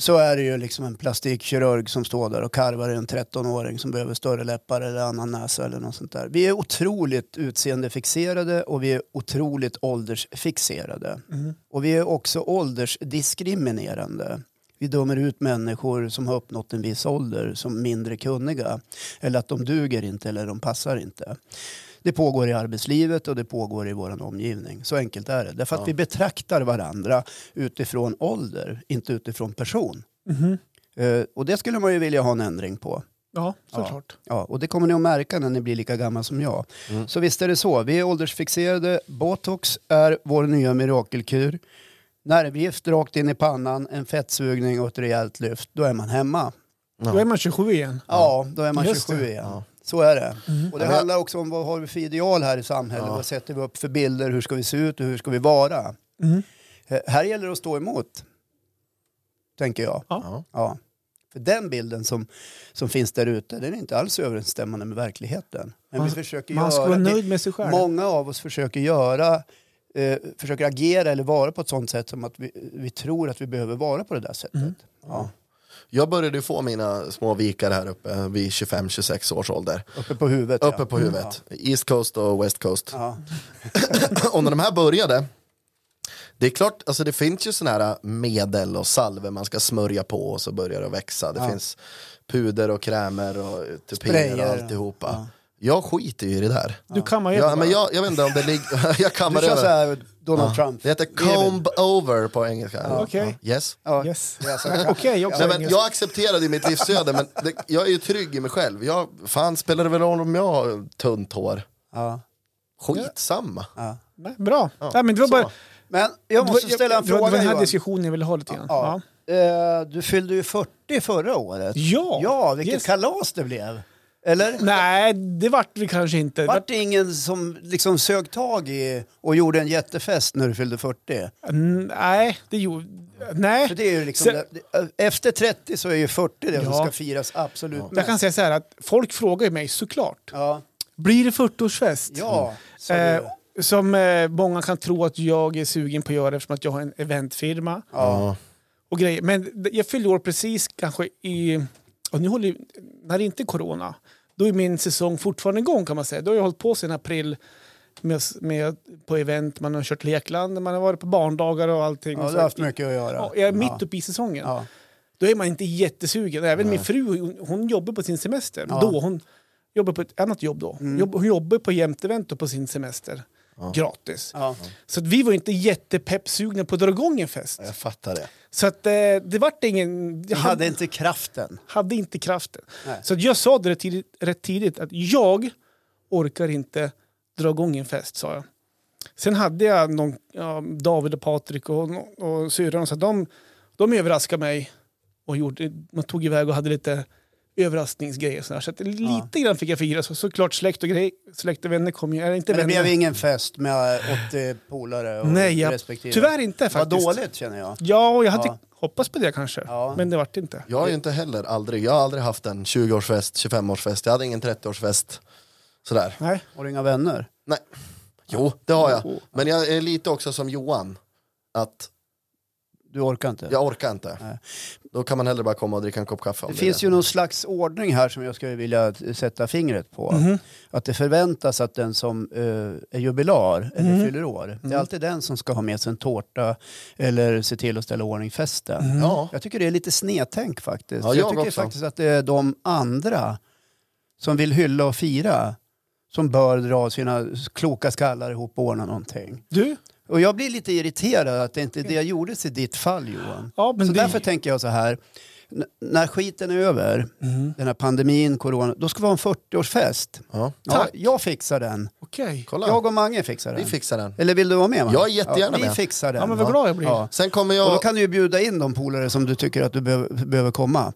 Så är det ju liksom en plastikkirurg som står där och karvar en 13-åring som behöver större läppar eller annan näsa eller något sånt där. Vi är otroligt utseendefixerade och vi är otroligt åldersfixerade. Och vi är också åldersdiskriminerande. Vi dömer ut människor som har uppnått en viss ålder som mindre kunniga. Eller att de duger inte eller de passar inte. Det pågår i arbetslivet och det pågår i vår omgivning. Så enkelt är det. Därför att vi betraktar varandra utifrån ålder, inte utifrån person. Eh, och det skulle man ju vilja ha en ändring på.
Mm-hmm. Ja, såklart.
Ja, och det kommer ni att märka när ni blir lika gamla som jag. Så visst är det så. Vi är åldersfixerade. Botox är vår nya mirakelkur. Nervgift rakt in i pannan, en fettsugning och ett rejält lyft. Då är man hemma.
Ja.
Då är man 27 igen.
Ja, då är man
Just
27
det.
igen.
Ja.
Så är det. Och det
Ja, men-
handlar också om vad har vi för ideal här i samhället? Vad sätter vi upp för bilder? Hur ska vi se ut och hur ska vi vara?
Mm.
Eh, Här gäller det att stå emot, tänker jag.
Ja.
Ja.
Ja. För den bilden som, som finns där ute, den är inte alls överensstämmande med verkligheten. Men
Man-
vi försöker
Man ska
göra...
vara
det-
nöjd med sig själv.
Många av oss försöker göra, eh, försöker agera eller vara på ett sånt sätt som att vi, vi tror att vi behöver vara på det där sättet.
Mm.
Ja.
Jag började ju få mina små vikar här uppe vid 25-26 års ålder.
Uppe på huvudet.
Uppe
ja.
på huvudet. East Coast och West Coast.
Ja.
[LAUGHS] och när de här började, det är klart, alltså det finns ju sådana här medel och salver man ska smörja på och så börjar det att växa. Det finns puder och krämer och tupéer
Sprayer.
och alltihopa. Jag skiter ju i det där.
Du kammar ju
Ja,
bara.
men jag, jag vet inte om det ligger... [LAUGHS] jag
Du
kammar
kör så
över.
här Donald Trump.
Det heter comb over på engelska. Ja.
Okej.
Ja. Yes.
Ja.
Yes.
Det är alltså-
Okej, jag också
Nej,
är
men
engelsk.
jag accepterade ju mitt livsöde, men det, jag är ju trygg i mig själv. Jag, fan, spelar det väl roll om jag har tunt hår?
Ja.
Skitsamma.
Nej, Bra. Nej, men det var
så.
bara,
Men jag måste
det var-
ställa en
det var
fråga
den här
Johan.
diskussionen jag ville ha lite grann.
Ja.
Ja.
Eh, Du fyllde ju 40 förra året.
Ja.
Ja, vilket
Yes.
kalas det blev. Eller?
Nej, det vart vi kanske inte.
Vart det ingen som liksom sög tag i och gjorde en jättefest när du fyllde 40?
Mm, Nej, det gjorde...
För
Nej.
det är ju liksom,
Så-
det- efter 30 så är ju 40 det som
Ja.
ska firas absolut
Jag
mest.
kan säga så här att folk frågar ju mig såklart.
Ja,
Blir det 40-årsfest?
ja sa du.
Eh, som eh, många kan tro att jag är sugen på att göra eftersom att jag har en eventfirma.
ja.
och grejer. Men d- jag fyllde år precis kanske i... Och nu håller, ju- när det inte är corona, då är min säsong fortfarande igång kan man säga. Då har jag hållit på sedan april med, med, på event, man har kört lekland, man har varit på barndagar och allting.
ja,
och
du
så.
har haft mycket att göra.
Ja, jag är mitt
ja.
uppe i säsongen.
Ja.
Då är man inte jättesugen. Även min fru, hon, hon jobbar på sin semester.
Ja. Mm.
Då, hon jobbar på ett annat jobb då. Jobb, hon jobbar på Jämtevent då på sin semester. Gratis.
Ja.
Så att vi var inte jättepeppsugna på att dra igång en fest.
Jag fattar det.
Så att eh, det vart ingen...
Du
Jag
hade
hade,
inte kraften.
hade inte kraften.
Nej.
Så att jag sa det rätt tidigt, rätt tidigt att jag orkar inte dra igång en fest, sa jag. Sen hade jag någon, ja, David och Patrik och, och syrran, så att de, de överraskade mig. Och gjorde, man tog iväg och hade lite överraskningsgrejer. och sådär. Så att lite grann fick jag fira. Så, såklart släkt och, grej, släkt och vänner kom ju. Är det inte
Men det
vänner?
blev ingen fest med 80 polare och
Nej, jag,
respektive.
tyvärr inte
Vad
faktiskt.
dåligt känner jag.
Ja, och jag hade
Ja.
hoppats på det kanske.
Ja.
Men det vart inte.
Jag har ju inte heller aldrig, jag har aldrig haft en 20-årsfest, 25-årsfest, jag hade ingen 30-årsfest. Sådär.
Nej.
Har du inga vänner?
Nej. Jo, det har jag. Men jag är lite också som Johan. Att
Du orkar inte?
jag orkar inte.
Nej.
Då kan man hellre bara komma och dricka en kopp kaffe. Om
Det finns ju någon slags ordning här som jag skulle vilja t- sätta fingret på.
Mm.
Att det förväntas att den som eh, är jubilar eller
Mm.
fyller år, det är alltid den som ska ha med sig en tårta eller se till att ställa i ordning festen.
Mm.
Ja.
Jag tycker det är lite snedtänk faktiskt.
Ja, jag
tycker
också.
faktiskt att det är de andra som vill hylla och fira som bör dra sina kloka skallar ihop och ordna någonting.
Du?
Och jag blir lite irriterad att det inte det gjordes i ditt fall Johan.
Ja, men
så
det-
därför tänker jag så här. N- när skiten är över,
Mm.
den här pandemin, corona, då ska vi ha en 40-årsfest.
Ja.
Ja, jag fixar den.
Okej.
Kolla,
Jag och Mange fixar den.
vi fixar den.
Eller vill du vara med? Mange?
Jag är jättegärna
ja, Vi
med.
fixar den.
Ja, men vad glad jag blir.
Ja.
Ja.
Sen kommer
Och då
jag...
kan du ju bjuda in de polare som du tycker att du behöver, behöver komma.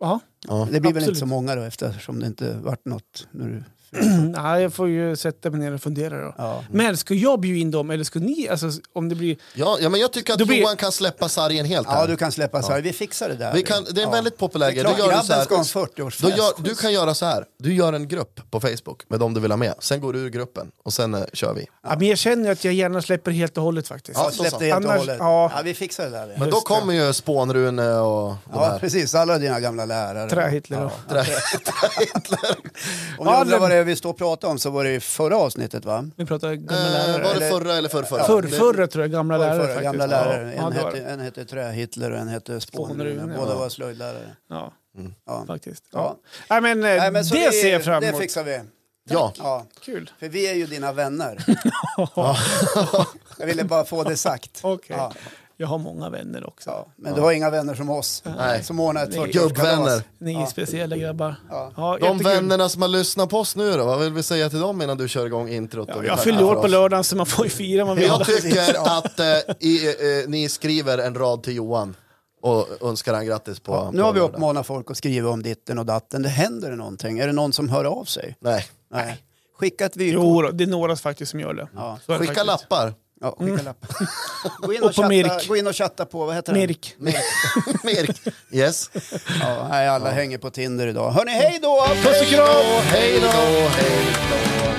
Ja.
Det blir väl
Absolut.
inte så många då eftersom det inte vart något. När du...
Mm. Nej, jag får ju sätta mig ner och fundera då.
ja.
Men ska jag bjuda in dem eller ska ni? Alltså, om det blir...
Ja, ja, men jag tycker att
Då blir-
Johan kan släppa sargen helt här.
ja, du kan släppa så här. Vi fixar det där.
Vi kan, det är en väldigt populär
Det är
grej.
klart,
Då gör du, så
grabben
här,
ska ha en 40-årsfest.
då gör, du kan göra så här. Du gör en grupp på Facebook med de du vill ha med. Sen går du ur gruppen och sen eh, kör vi.
Ja. men jag känner ju att jag gärna släpper helt och hållet faktiskt.
Ja,
Ja, så
släpp
så.
det helt och
Annars-
hållet. Ja.
ja.
vi fixar det där. vi.
Men då
Just det.
kommer ju Spånrune och de
Ja,
här.
precis. Alla dina gamla lärare.
Trähitler då.
Om ni
Ja,
undrar
men-
vad det är vi står och pratar om så var det i förra avsnittet va?
Vi pratar gamla
Eh,
lärare.
var det
Eller-
förra eller förrförra?
Förr,
Det-
förra tror jag, gamla
Förra,
lärare
förra,
faktiskt.
gamla lärare.
Ja, ja,
En,
det var
hette,
det.
en hette Trähitler och en hette Spånrune.
Spånrune,
Båda
ja.
var slöjdlärare.
Ja,
Mm. Ja.
faktiskt.
Ja.
Ja. Nej, men, eh,
Nej, men så
det ser jag fram
Det
emot.
fixar vi.
Ja.
Ja.
Kul.
För [LAUGHS] vi är ju dina vänner. Jag ville bara få det sagt.
Okej.
Ja.
Jag har många vänner också.
Ja, men du har inga vänner som oss
Nej.
som ordnar ett
Nej.
40-årskalas.
Gubbvänner.
Ni är
Ja.
speciella grabbar.
Ja.
De
jättekul.
vännerna som har lyssnat på oss nu då, vad vill vi säga till dem innan du kör igång introt?
Ja,
och
jag
vi
fyller
tackar
år
för
på
oss?
lördagen så man får ju fira man vill.
Jag tycker att eh, i, eh, ni skriver en rad till Johan och önskar han grattis på...
Ja, nu
på
har vi
lördag.
uppmanat folk att skriva om ditten och datten. Det händer det någonting. Är det någon som hör av sig?
Nej,
Nej. Skicka ett vykort.
Jo, då, det är några faktiskt som gör det.
Ja.
Så är det
skicka
faktiskt.
lappar.
Ja, skicka lappar. Gå in och,
Mm. Och på
chatta,
Mirk.
gå in och chatta på, vad heter den?
Mirk.
[LAUGHS] Merk. Yes.
Ja, nej, alla hänger på Tinder idag. Hörni, hej då!
Puss och kram!
Hej då, hej då.